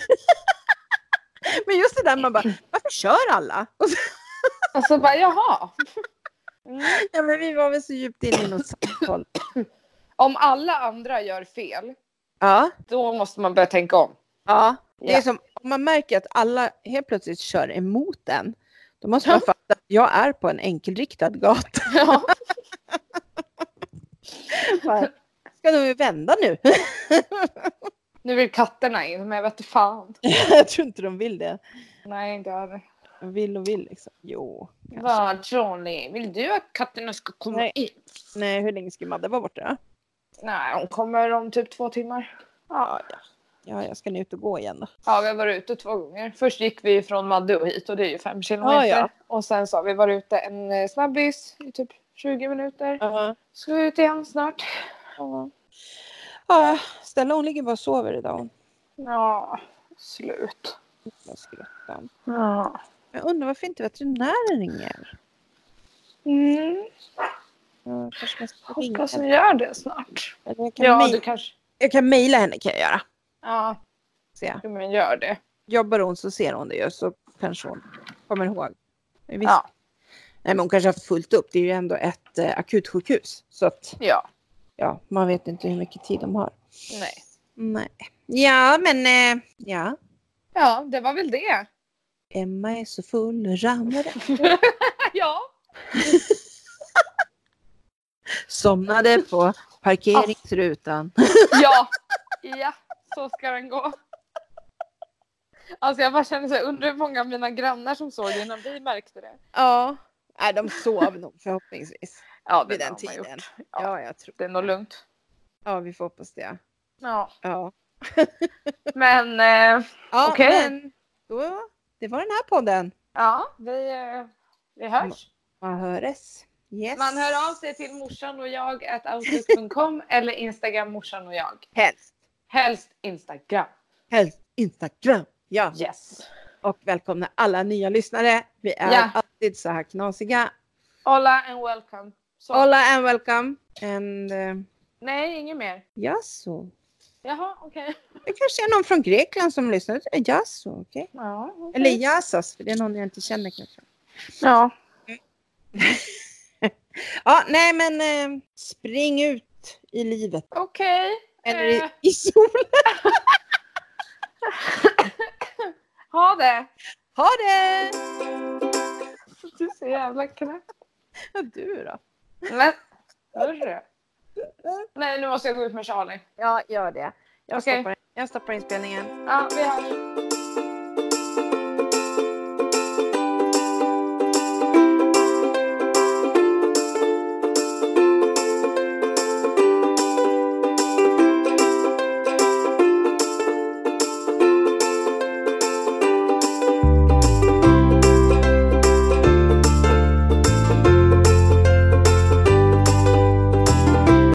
Speaker 2: Men just det där man bara, varför kör alla? Och så,
Speaker 1: Och så Alltså, bara jaha. Mm.
Speaker 2: ja, men vi var väl så djupt inne i något samtal.
Speaker 1: Om alla andra gör fel,
Speaker 2: Ja,
Speaker 1: då måste man börja tänka om.
Speaker 2: ja. Det är
Speaker 1: Ja.
Speaker 2: som om man märker att alla helt plötsligt kör emot en. Då måste man fatta att jag är på en enkelriktad gata.
Speaker 1: Ja.
Speaker 2: Bara, Ska du vända nu?
Speaker 1: Nu vill katterna in, men jag vet inte fan.
Speaker 2: Jag tror inte de vill det.
Speaker 1: Nej, inte jag heller.
Speaker 2: De vill och vill liksom. Jo. kanske.
Speaker 1: Vad Johnny, vill du att katterna ska komma
Speaker 2: Nej.
Speaker 1: in?
Speaker 2: Nej, hur länge ska Madde vara borta då?
Speaker 1: Nej, hon kommer om typ två timmar.
Speaker 2: Ja, ja. Ja, jag ska nu ut och gå igen då.
Speaker 1: Ja, vi har varit ute två gånger. Först gick vi från Madde och hit och det är ju fem kilometer.
Speaker 2: Ja, ja.
Speaker 1: Och sen så har vi varit ute en eh, snabbis i typ 20 minuter. Ska vi ut igen snart?
Speaker 2: Ja. Ja, Stella hon ligger bara och sover idag. Hon
Speaker 1: Ja, slut.
Speaker 2: bara skrattar.
Speaker 1: Ja.
Speaker 2: Men Jag undrar varför inte veterinären ringer?
Speaker 1: Mm,
Speaker 2: Jag kanske Mm. jag ska ringa
Speaker 1: hoppas
Speaker 2: henne.
Speaker 1: ni gör det snart.
Speaker 2: Eller jag kan
Speaker 1: Ja,
Speaker 2: mejla-
Speaker 1: du kanske...
Speaker 2: Jag kan mejla henne kan jag göra.
Speaker 1: Ja,
Speaker 2: Se.
Speaker 1: jo, men gör det.
Speaker 2: Jobbar hon så ser hon det ju så kanske hon kommer ihåg. Men visst.
Speaker 1: Ja.
Speaker 2: Nej men hon kanske har fullt upp. Det är ju ändå ett eh, akutsjukhus. Så att
Speaker 1: Ja,
Speaker 2: ja, man vet inte hur mycket tid de har.
Speaker 1: nej.
Speaker 2: Nej. Ja men eh, ja.
Speaker 1: Ja, det var väl det.
Speaker 2: Emma är så full, ramlade.
Speaker 1: ja.
Speaker 2: Somnade på parkeringsrutan.
Speaker 1: Ja, ja, så ska den gå. Alltså jag bara känner så här, undrar hur många av mina grannar som såg det innan vi märkte det.
Speaker 2: Ja. Nej, de sov nog förhoppningsvis
Speaker 1: Ja,
Speaker 2: vid den
Speaker 1: har man
Speaker 2: tiden.
Speaker 1: gjort.
Speaker 2: Ja, jag tror
Speaker 1: Det är nog lugnt.
Speaker 2: Ja, vi får hoppas det.
Speaker 1: Ja,
Speaker 2: Ja,
Speaker 1: men eh,
Speaker 2: ja
Speaker 1: Okej.
Speaker 2: men då, det var den här podden.
Speaker 1: ja, vi, eh, vi hörs.
Speaker 2: Man höres. Yes.
Speaker 1: Man hör av sig till morsan och jag at outlook.com eller Instagram morsan och jag.
Speaker 2: Helst.
Speaker 1: Helst Instagram.
Speaker 2: Helst Instagram. Ja,
Speaker 1: Yes.
Speaker 2: och välkomna alla nya lyssnare. Vi är
Speaker 1: Ja.
Speaker 2: alltid så här knasiga.
Speaker 1: Hola and welcome. Så.
Speaker 2: Hola and welcome. And eh,
Speaker 1: Nej, inget mer.
Speaker 2: jaså.
Speaker 1: Jaha, okej.
Speaker 2: Det kanske är någon från Grekland som lyssnar. Eh, Jaså, okej.
Speaker 1: Ja, okej.
Speaker 2: Eller jasas, för det är någon jag inte känner kanske.
Speaker 1: ja.
Speaker 2: Ja, nej men eh, spring ut i livet.
Speaker 1: Okej.
Speaker 2: Eller
Speaker 1: Eh.
Speaker 2: i, i solen.
Speaker 1: Ha det.
Speaker 2: Ha det!
Speaker 1: Du är så jävla knäpp.
Speaker 2: Du då?
Speaker 1: Men, hörru. Nej, nu måste jag gå ut med Charlie.
Speaker 2: Ja, gör det. Jag,
Speaker 1: Okej.
Speaker 2: stoppar, jag stoppar inspelningen.
Speaker 1: Ja, vi hörs.